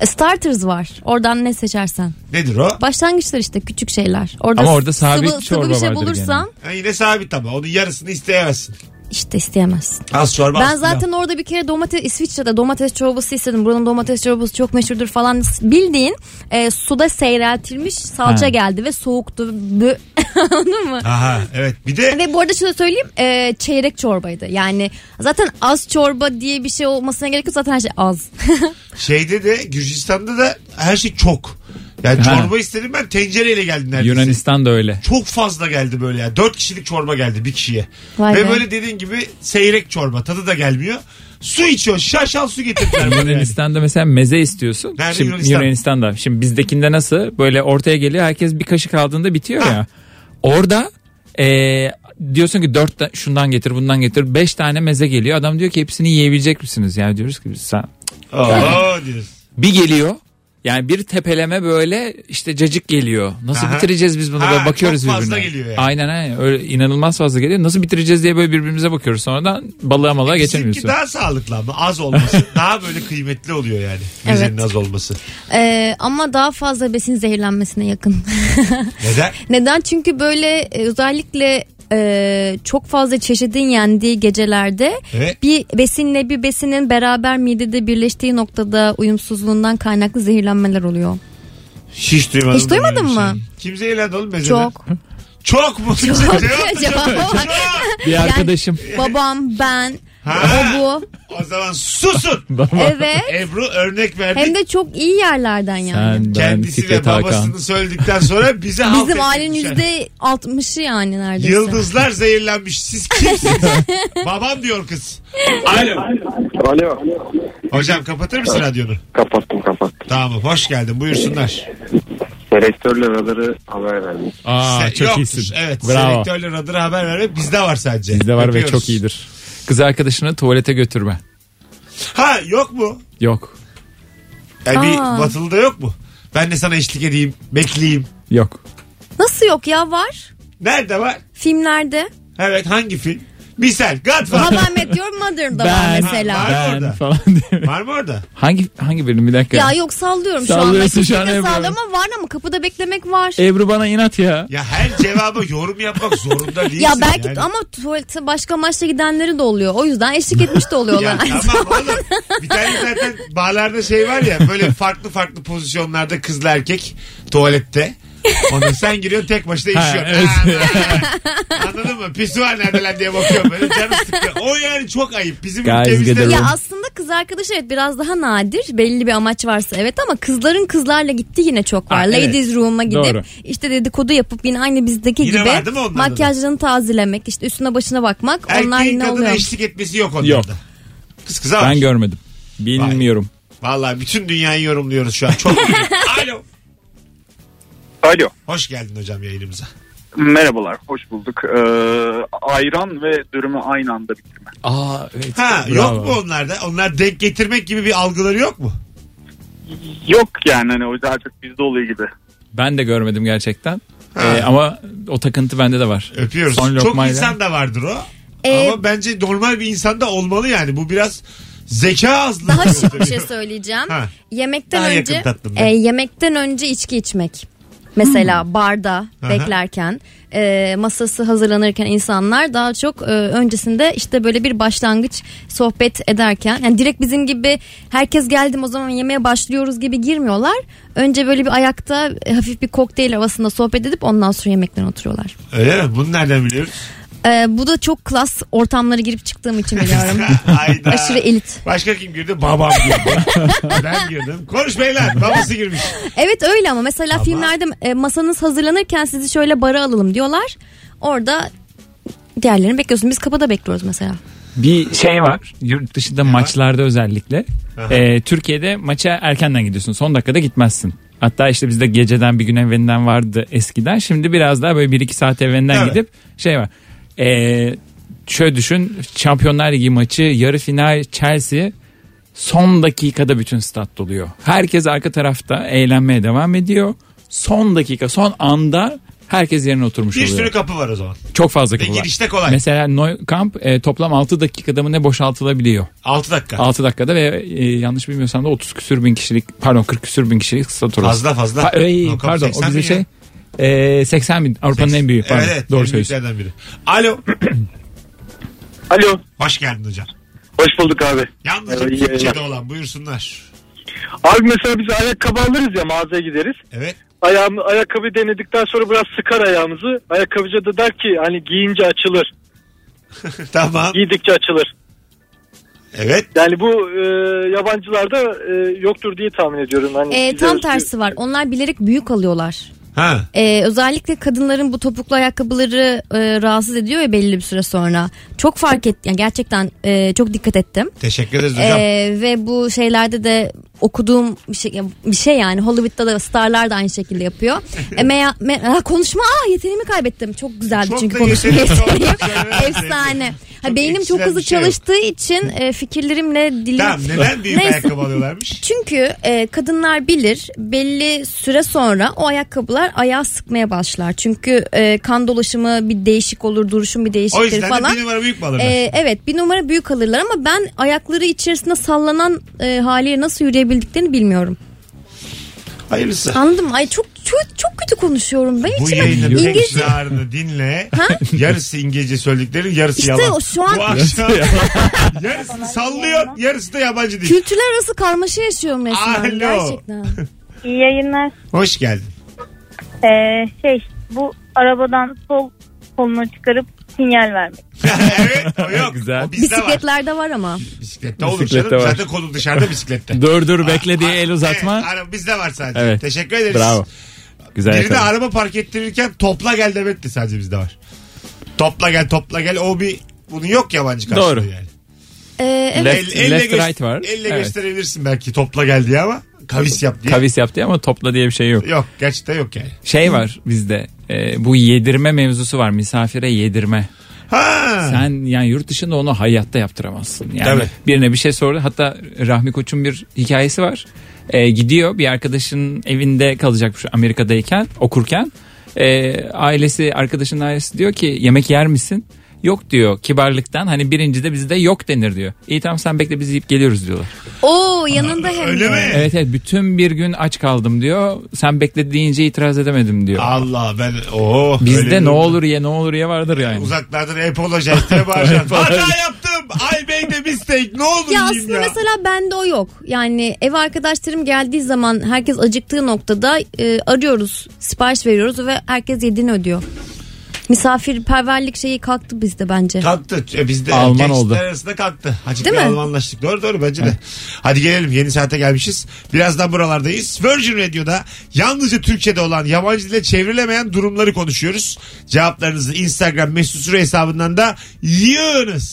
[SPEAKER 3] E, Starters var. Oradan ne seçersen.
[SPEAKER 2] Nedir o?
[SPEAKER 3] Başlangıçlar işte küçük şeyler. Orada
[SPEAKER 4] Ama orada
[SPEAKER 3] sıvı,
[SPEAKER 4] sabit
[SPEAKER 3] sıvı
[SPEAKER 4] çorba
[SPEAKER 3] bir şey
[SPEAKER 4] vardır
[SPEAKER 3] bulursan
[SPEAKER 2] Ha, yine sabit ama onun yarısını isteyemezsin.
[SPEAKER 3] işte isteyemezsin.
[SPEAKER 2] Az çorba
[SPEAKER 3] Ben
[SPEAKER 2] az pilav.
[SPEAKER 3] zaten orada bir kere domates İsviçre'de domates çorbası istedim. Buranın domates çorbası çok meşhurdur falan. Bildiğin e, suda seyreltilmiş salça
[SPEAKER 4] Ha.
[SPEAKER 3] geldi ve soğuktu. Bö- Anladın mı?
[SPEAKER 2] Aha evet bir de
[SPEAKER 3] Ve bu arada şöyle söyleyeyim e, çeyrek çorbaydı. Yani zaten az çorba diye bir şey olmasına gerek yok. Zaten her şey az.
[SPEAKER 2] şeyde de Gürcistan'da da her şey çok. Yani
[SPEAKER 4] Ha.
[SPEAKER 2] çorba istedim ben tencereyle geldim neredeyse.
[SPEAKER 4] Yunanistan da öyle.
[SPEAKER 2] Çok fazla geldi böyle ya. Dört kişilik çorba geldi bir kişiye.
[SPEAKER 3] Vay
[SPEAKER 2] Ve
[SPEAKER 3] be.
[SPEAKER 2] böyle dediğin gibi seyrek çorba. Tadı da gelmiyor. Su içiyor. Şaşal su getirdiler. bana yani.
[SPEAKER 4] Yunanistan'da mesela meze istiyorsun.
[SPEAKER 2] Nerede
[SPEAKER 4] Şimdi
[SPEAKER 2] Yunanistan?
[SPEAKER 4] Yunanistan'da. Şimdi bizdekinde nasıl böyle ortaya geliyor herkes bir kaşık aldığında bitiyor ya. Orada eee, diyorsun ki dört ta- şundan getir bundan getir beş tane meze geliyor. Adam diyor ki hepsini yiyebilecek misiniz? Yani diyoruz ki biz sen
[SPEAKER 2] Oo diyoruz.
[SPEAKER 4] bir geliyor. Yani bir tepeleme böyle işte cacık geliyor. Nasıl
[SPEAKER 2] Aha.
[SPEAKER 4] bitireceğiz biz bunu?
[SPEAKER 2] Ha,
[SPEAKER 4] Böyle bakıyoruz
[SPEAKER 2] çok fazla
[SPEAKER 4] birbirine.
[SPEAKER 2] geliyor yani.
[SPEAKER 4] Aynen aynen. Öyle inanılmaz fazla geliyor. Nasıl bitireceğiz diye böyle birbirimize bakıyoruz. Sonradan balığa
[SPEAKER 2] E,
[SPEAKER 4] malığa
[SPEAKER 2] Bizimki
[SPEAKER 4] geçemiyorsun.
[SPEAKER 2] daha sağlıklı ama az olması daha böyle kıymetli oluyor yani. Mezenin
[SPEAKER 3] Evet.
[SPEAKER 2] az olması.
[SPEAKER 3] E, ama daha fazla besin zehirlenmesine yakın.
[SPEAKER 2] Neden?
[SPEAKER 3] Neden? Çünkü böyle e, özellikle e, çok fazla çeşidin yendiği gecelerde
[SPEAKER 2] Evet.
[SPEAKER 3] bir besinle bir besinin beraber midede birleştiği noktada uyumsuzluğundan kaynaklı zehirlenmeler oluyor.
[SPEAKER 2] Hiç duymadım.
[SPEAKER 3] Hiç duymadın
[SPEAKER 2] böyle bir
[SPEAKER 3] mı?
[SPEAKER 2] şey. Kim zehirlendi oğlum mezeden?
[SPEAKER 3] Çok.
[SPEAKER 2] Çok mu? Çok.
[SPEAKER 3] Cevap.
[SPEAKER 4] Bir arkadaşım.
[SPEAKER 3] Babam, ben,
[SPEAKER 2] Ha.
[SPEAKER 3] o bu.
[SPEAKER 2] O zaman susun.
[SPEAKER 3] Evet.
[SPEAKER 2] Ebru örnek verdik.
[SPEAKER 3] Hem de çok iyi yerlerden yani.
[SPEAKER 4] Sen, ben,
[SPEAKER 2] Kendisi ve
[SPEAKER 4] Fikret Hakan.
[SPEAKER 2] babasını söyledikten sonra bize
[SPEAKER 3] Bizim
[SPEAKER 2] affetmişler.
[SPEAKER 3] ailenin yüzde altmışı yani neredeyse.
[SPEAKER 2] Yıldızlar zehirlenmiş. Siz kimsiniz? Babam diyor kız. Alo.
[SPEAKER 5] Alo.
[SPEAKER 2] Hocam kapatır mısın radyonu?
[SPEAKER 5] Kapattım kapattım.
[SPEAKER 2] Tamam hoş geldin buyursunlar.
[SPEAKER 5] Selektörle radarı haber verdim.
[SPEAKER 4] Aa,
[SPEAKER 2] Se-
[SPEAKER 4] çok
[SPEAKER 2] yoktur.
[SPEAKER 4] iyisin.
[SPEAKER 2] Evet
[SPEAKER 4] Bravo.
[SPEAKER 2] selektörle radara haber vermek bizde var sadece.
[SPEAKER 4] Bizde var ve
[SPEAKER 2] Öpüyoruz.
[SPEAKER 4] çok iyidir. Kız arkadaşını tuvalete götürme.
[SPEAKER 2] Ha yok mu?
[SPEAKER 4] Yok.
[SPEAKER 2] Yani bir
[SPEAKER 3] Aa.
[SPEAKER 2] batılıda yok mu? Ben de sana eşlik edeyim, bekleyeyim.
[SPEAKER 4] Yok.
[SPEAKER 3] Nasıl yok ya var?
[SPEAKER 2] Nerede var?
[SPEAKER 3] Filmlerde.
[SPEAKER 2] Evet hangi film? Misal Godfather.
[SPEAKER 3] How I Met Your Mother'da
[SPEAKER 4] Ben-
[SPEAKER 3] var mesela.
[SPEAKER 2] Var mı orada?
[SPEAKER 4] Ben falan diye.
[SPEAKER 2] Var mı orada?
[SPEAKER 4] Hangi hangi bölüm bir dakika.
[SPEAKER 3] Ya yok sallıyorum şu an.
[SPEAKER 4] Sallıyorsun şu an E,
[SPEAKER 3] Kesinlikle
[SPEAKER 4] Ebru.
[SPEAKER 3] sallıyorum ama var ama kapıda beklemek var.
[SPEAKER 4] Ebru bana inat ya.
[SPEAKER 2] Ya her cevaba yorum yapmak zorunda değilsin.
[SPEAKER 3] ya belki
[SPEAKER 2] yani.
[SPEAKER 3] ama tuvalete başka maçta gidenleri de oluyor. O yüzden eşlik etmiş de
[SPEAKER 2] Ya
[SPEAKER 3] oluyorlar.
[SPEAKER 2] tamam oğlum. Bir tane zaten barlarda şey var ya böyle farklı farklı pozisyonlarda kızla erkek tuvalette. Ona sen giriyorsun tek başına
[SPEAKER 4] Ha,
[SPEAKER 2] işiyorsun.
[SPEAKER 4] evet.
[SPEAKER 2] Aa, Anladın mı? Pisuar nerede lan diye bakıyorum böyle canım sıkıyor. O yani çok ayıp. Bizim
[SPEAKER 4] Guys
[SPEAKER 2] ülkemizde
[SPEAKER 4] get
[SPEAKER 2] de
[SPEAKER 4] a
[SPEAKER 3] Ya aslında kız arkadaş evet biraz daha nadir. Belli bir amaç varsa evet ama kızların kızlarla gitti yine çok var.
[SPEAKER 4] Ha, evet.
[SPEAKER 3] Ladies room'a gidip
[SPEAKER 4] Doğru.
[SPEAKER 3] işte dedikodu yapıp yine aynı bizdeki
[SPEAKER 2] Yine var değil
[SPEAKER 3] gibi
[SPEAKER 2] mi onlarda da?
[SPEAKER 3] makyajlarını tazelemek, işte üstüne başına bakmak onlar
[SPEAKER 2] erkeğin
[SPEAKER 3] yine
[SPEAKER 2] kadına
[SPEAKER 3] oluyor.
[SPEAKER 2] eşlik etmesi yok onlarda.
[SPEAKER 4] Yok.
[SPEAKER 2] Kız kıza
[SPEAKER 4] Ben
[SPEAKER 2] var.
[SPEAKER 4] görmedim. Bilmiyorum.
[SPEAKER 2] Vallahi bütün dünyayı yorumluyoruz şu an. Çok Alo.
[SPEAKER 10] Alo.
[SPEAKER 2] Hoş geldin hocam yayınımıza.
[SPEAKER 10] Merhabalar, hoş bulduk. Ee, ayran ve dürümü aynı anda bitirme.
[SPEAKER 4] Aa evet.
[SPEAKER 2] Ha
[SPEAKER 4] Bravo.
[SPEAKER 2] yok mu onlarda? Onlar denk getirmek gibi bir algıları yok mu?
[SPEAKER 10] Yok yani hani o daha çok bizde oluyor gibi.
[SPEAKER 4] Ben de görmedim gerçekten. Ee, ama o takıntı bende de var.
[SPEAKER 2] Öpüyoruz.
[SPEAKER 4] Son
[SPEAKER 2] Çok
[SPEAKER 4] lokmayla.
[SPEAKER 2] insan da vardır o.
[SPEAKER 3] Ee,
[SPEAKER 2] Ama bence normal bir insan da olmalı yani. Bu biraz zeka azlığı.
[SPEAKER 3] Daha şık bir şey söyleyeceğim.
[SPEAKER 2] Ha.
[SPEAKER 3] Yemekten
[SPEAKER 2] Daha yakın
[SPEAKER 3] önce
[SPEAKER 2] tatlım Hmm. ben.
[SPEAKER 3] e, yemekten önce içki içmek. Mesela barda beklerken e, masası hazırlanırken insanlar daha çok e, öncesinde işte böyle bir başlangıç sohbet ederken yani direkt bizim gibi herkes geldim o zaman yemeğe başlıyoruz gibi girmiyorlar. Önce böyle bir ayakta e, hafif bir kokteyl havasında sohbet edip ondan sonra yemekten oturuyorlar.
[SPEAKER 2] Öyle mi? Bunu nereden biliyoruz?
[SPEAKER 3] E, bu da çok klas ortamlara girip çıktığım için biliyorum.
[SPEAKER 2] Hayda.
[SPEAKER 3] Aşırı elit.
[SPEAKER 2] Başka kim girdi? Babam girdi. ben girdim. Konuş beyler. Babası girmiş.
[SPEAKER 3] Evet öyle ama mesela
[SPEAKER 2] Ama-
[SPEAKER 3] filmlerde e, masanız hazırlanırken sizi şöyle bara alalım diyorlar. Orada diğerlerini bekliyorsun. Biz kapıda bekliyoruz mesela.
[SPEAKER 4] Bir şey var. Yurt dışında maçlarda özellikle. Ee, Türkiye'de maça erkenden gidiyorsun. Son dakikada gitmezsin. Hatta işte bizde geceden bir gün evvelinden vardı eskiden. Şimdi biraz daha böyle 1-2 saat evvelinden
[SPEAKER 2] Evet.
[SPEAKER 4] gidip şey var. Ee, şöyle düşün. Şampiyonlar Ligi maçı yarı final Chelsea son dakikada bütün stat doluyor. Herkes arka tarafta eğlenmeye devam ediyor. Son dakika son anda herkes yerine oturmuş
[SPEAKER 2] Bir
[SPEAKER 4] oluyor.
[SPEAKER 2] sürü kapı var o zaman.
[SPEAKER 4] Çok fazla
[SPEAKER 2] Ve
[SPEAKER 4] kapı var.
[SPEAKER 2] girişte kolay.
[SPEAKER 4] Mesela Neukamp e, toplam 6 dakikada mı ne boşaltılabiliyor?
[SPEAKER 2] 6 dakika.
[SPEAKER 4] 6 dakikada ve e, yanlış bilmiyorsam da 30 küsür bin kişilik pardon 40 küsür bin kişilik stat orası.
[SPEAKER 2] Fazla fazla.
[SPEAKER 4] Pa- ey,
[SPEAKER 2] Yok,
[SPEAKER 4] pardon
[SPEAKER 2] 80
[SPEAKER 4] o bizim
[SPEAKER 2] bin ya.
[SPEAKER 4] şey e, 80 bin Avrupa'nın en büyüğü pardon
[SPEAKER 2] Evet, evet,
[SPEAKER 4] doğru
[SPEAKER 2] en
[SPEAKER 4] söylüyorsun.
[SPEAKER 2] büyüklerden biri. Alo.
[SPEAKER 5] Alo.
[SPEAKER 2] Hoş geldin hocam.
[SPEAKER 5] Hoş bulduk abi.
[SPEAKER 2] Yalnızca
[SPEAKER 5] Evet, iyi
[SPEAKER 2] Türkçe'de
[SPEAKER 5] yayınlar.
[SPEAKER 2] olan buyursunlar.
[SPEAKER 5] Abi mesela biz ayakkabı alırız ya mağazaya gideriz.
[SPEAKER 2] Evet.
[SPEAKER 5] Ayağım, ayakkabı denedikten sonra biraz sıkar ayağımızı. Ayakkabıcı da der ki hani giyince açılır.
[SPEAKER 2] tamam.
[SPEAKER 5] Giydikçe açılır.
[SPEAKER 2] Evet.
[SPEAKER 5] Yani bu e, yabancılarda e, yoktur diye tahmin ediyorum. Hani
[SPEAKER 3] Ee,
[SPEAKER 5] bize
[SPEAKER 3] tam
[SPEAKER 5] özgü-
[SPEAKER 3] tersi var. Onlar bilerek büyük alıyorlar.
[SPEAKER 2] Ha.
[SPEAKER 3] Ee, özellikle kadınların bu topuklu ayakkabıları e, rahatsız ediyor ya belli bir süre sonra. Çok fark ettim. Yani gerçekten e, çok dikkat ettim.
[SPEAKER 2] Teşekkür ederiz hocam.
[SPEAKER 3] Ee, ve bu şeylerde de okuduğum bir şey, bir şey yani Hollywood'da da starlar da aynı şekilde yapıyor. e, meya- me- ha, konuşma aa yeteneğimi kaybettim. Çok güzeldi
[SPEAKER 2] Çok
[SPEAKER 3] çünkü
[SPEAKER 2] da
[SPEAKER 3] konuşma
[SPEAKER 2] yeteneğim yok.
[SPEAKER 3] yeteneğim.
[SPEAKER 2] Söylemem
[SPEAKER 3] Efsane. Ha,
[SPEAKER 2] Çok
[SPEAKER 3] beynim çok
[SPEAKER 2] eksilen
[SPEAKER 3] hızlı
[SPEAKER 2] bir şey yok.
[SPEAKER 3] çalıştığı için e, fikirlerimle dilim...
[SPEAKER 2] Tamam neden büyük
[SPEAKER 3] Neyse.
[SPEAKER 2] ayakkabı alıyorlarmış?
[SPEAKER 3] Çünkü e, kadınlar bilir belli süre sonra o ayakkabılar ayağa sıkmaya başlar. Çünkü e, kan dolaşımı bir değişik olur, duruşun bir
[SPEAKER 2] O
[SPEAKER 3] değişiktir
[SPEAKER 2] yüzden de
[SPEAKER 3] falan.
[SPEAKER 2] bir numara büyük mü alırlar?
[SPEAKER 3] E, evet bir numara büyük alırlar ama ben ayakları içerisinde sallanan e, haliyle nasıl yürüyebildiklerini bilmiyorum.
[SPEAKER 2] Hayırlısı.
[SPEAKER 3] Anladın mı? Ay çok çok, çok kötü konuşuyorum. Ben
[SPEAKER 2] Bu
[SPEAKER 3] içime
[SPEAKER 2] yayının
[SPEAKER 3] İngilizce...
[SPEAKER 2] İngilizce ağrını dinle.
[SPEAKER 3] Ha?
[SPEAKER 2] Yarısı İngilizce söylediklerin yarısı
[SPEAKER 3] İşte
[SPEAKER 2] yalan.
[SPEAKER 3] o şu an-
[SPEAKER 2] Bu akşam yarısını sallıyor yarısı da yabancı değil.
[SPEAKER 3] Kültürler arası karmaşa yaşıyorum resmen.
[SPEAKER 2] Alo.
[SPEAKER 3] Gerçekten.
[SPEAKER 7] İyi yayınlar.
[SPEAKER 2] Hoş geldin.
[SPEAKER 7] Ee, şey bu arabadan sol kolunu çıkarıp sinyal vermek.
[SPEAKER 2] evet o yok.
[SPEAKER 4] Güzel.
[SPEAKER 2] O bizde var.
[SPEAKER 3] Bisikletlerde var ama.
[SPEAKER 2] Bisiklette olur
[SPEAKER 4] Bisiklette
[SPEAKER 2] canım.
[SPEAKER 4] var.
[SPEAKER 2] Zaten kolum dışarıda bisiklette.
[SPEAKER 4] Dur dur bekle diye el
[SPEAKER 2] Evet,
[SPEAKER 4] uzatma.
[SPEAKER 2] ara- bizde var sadece.
[SPEAKER 4] Evet.
[SPEAKER 2] Teşekkür ederiz.
[SPEAKER 4] Bravo. Güzel
[SPEAKER 2] Birine
[SPEAKER 4] yakaladın.
[SPEAKER 2] araba park ettirirken topla gel demek de sadece bizde var. Topla gel topla gel o bir bunun yok yabancı karşılığı
[SPEAKER 4] Doğru.
[SPEAKER 2] yani.
[SPEAKER 3] Ee, evet.
[SPEAKER 4] Left, left
[SPEAKER 2] göster-
[SPEAKER 4] right var.
[SPEAKER 2] Elle
[SPEAKER 4] Evet.
[SPEAKER 2] gösterebilirsin belki topla gel diye ama kavis yap diye.
[SPEAKER 4] Kavis yaptı ama topla diye bir şey yok.
[SPEAKER 2] Yok gerçekten yok yani.
[SPEAKER 4] Şey var bizde e, bu yedirme mevzusu var misafire yedirme.
[SPEAKER 2] Ha.
[SPEAKER 4] Sen yani yurt dışında onu hayatta yaptıramazsın. Yani
[SPEAKER 2] Tabii.
[SPEAKER 4] birine bir şey sordu. Hatta Rahmi Koç'un bir hikayesi var. Ee, gidiyor bir arkadaşın evinde kalacakmış Amerika'dayken okurken. Ee, ailesi arkadaşın ailesi diyor ki yemek yer misin? Yok diyor kibarlıktan hani birinci de bizde yok denir diyor. İyi tamam sen bekle biz yiyip geliyoruz diyorlar.
[SPEAKER 3] Oo yanında hem
[SPEAKER 2] Öyle
[SPEAKER 3] de.
[SPEAKER 2] mi?
[SPEAKER 4] Evet evet bütün bir gün aç kaldım diyor. Sen bekle deyince itiraz edemedim diyor.
[SPEAKER 2] Allah ben o
[SPEAKER 4] Bizde ne olur ye ne olur ye vardır yani.
[SPEAKER 2] Uzaklardan apolojize işte bağıracaksın. Hata yaptım. Ay bey de mistake. Ne olur
[SPEAKER 3] Ya
[SPEAKER 2] yiyeyim ya.
[SPEAKER 3] aslında mesela bende o yok. Yani ev arkadaşlarım geldiği zaman herkes acıktığı noktada e, arıyoruz, sipariş veriyoruz ve herkes yediğini ödüyor. Misafirperverlik şeyi kalktı bizde bence.
[SPEAKER 2] Kalktı. E, Bizde
[SPEAKER 4] Alman
[SPEAKER 2] gençler
[SPEAKER 4] oldu.
[SPEAKER 2] arasında kalktı. Hacı
[SPEAKER 3] Değil
[SPEAKER 2] bir
[SPEAKER 3] mi?
[SPEAKER 2] Almanlaştık. Doğru doğru bence de. Hadi gelelim. Yeni saate gelmişiz. Birazdan buralardayız. Virgin Radio'da yalnızca Türkçe'de olan yabancı dile çevrilemeyen durumları konuşuyoruz. Cevaplarınızı Instagram mesut süre hesabından da yığınız.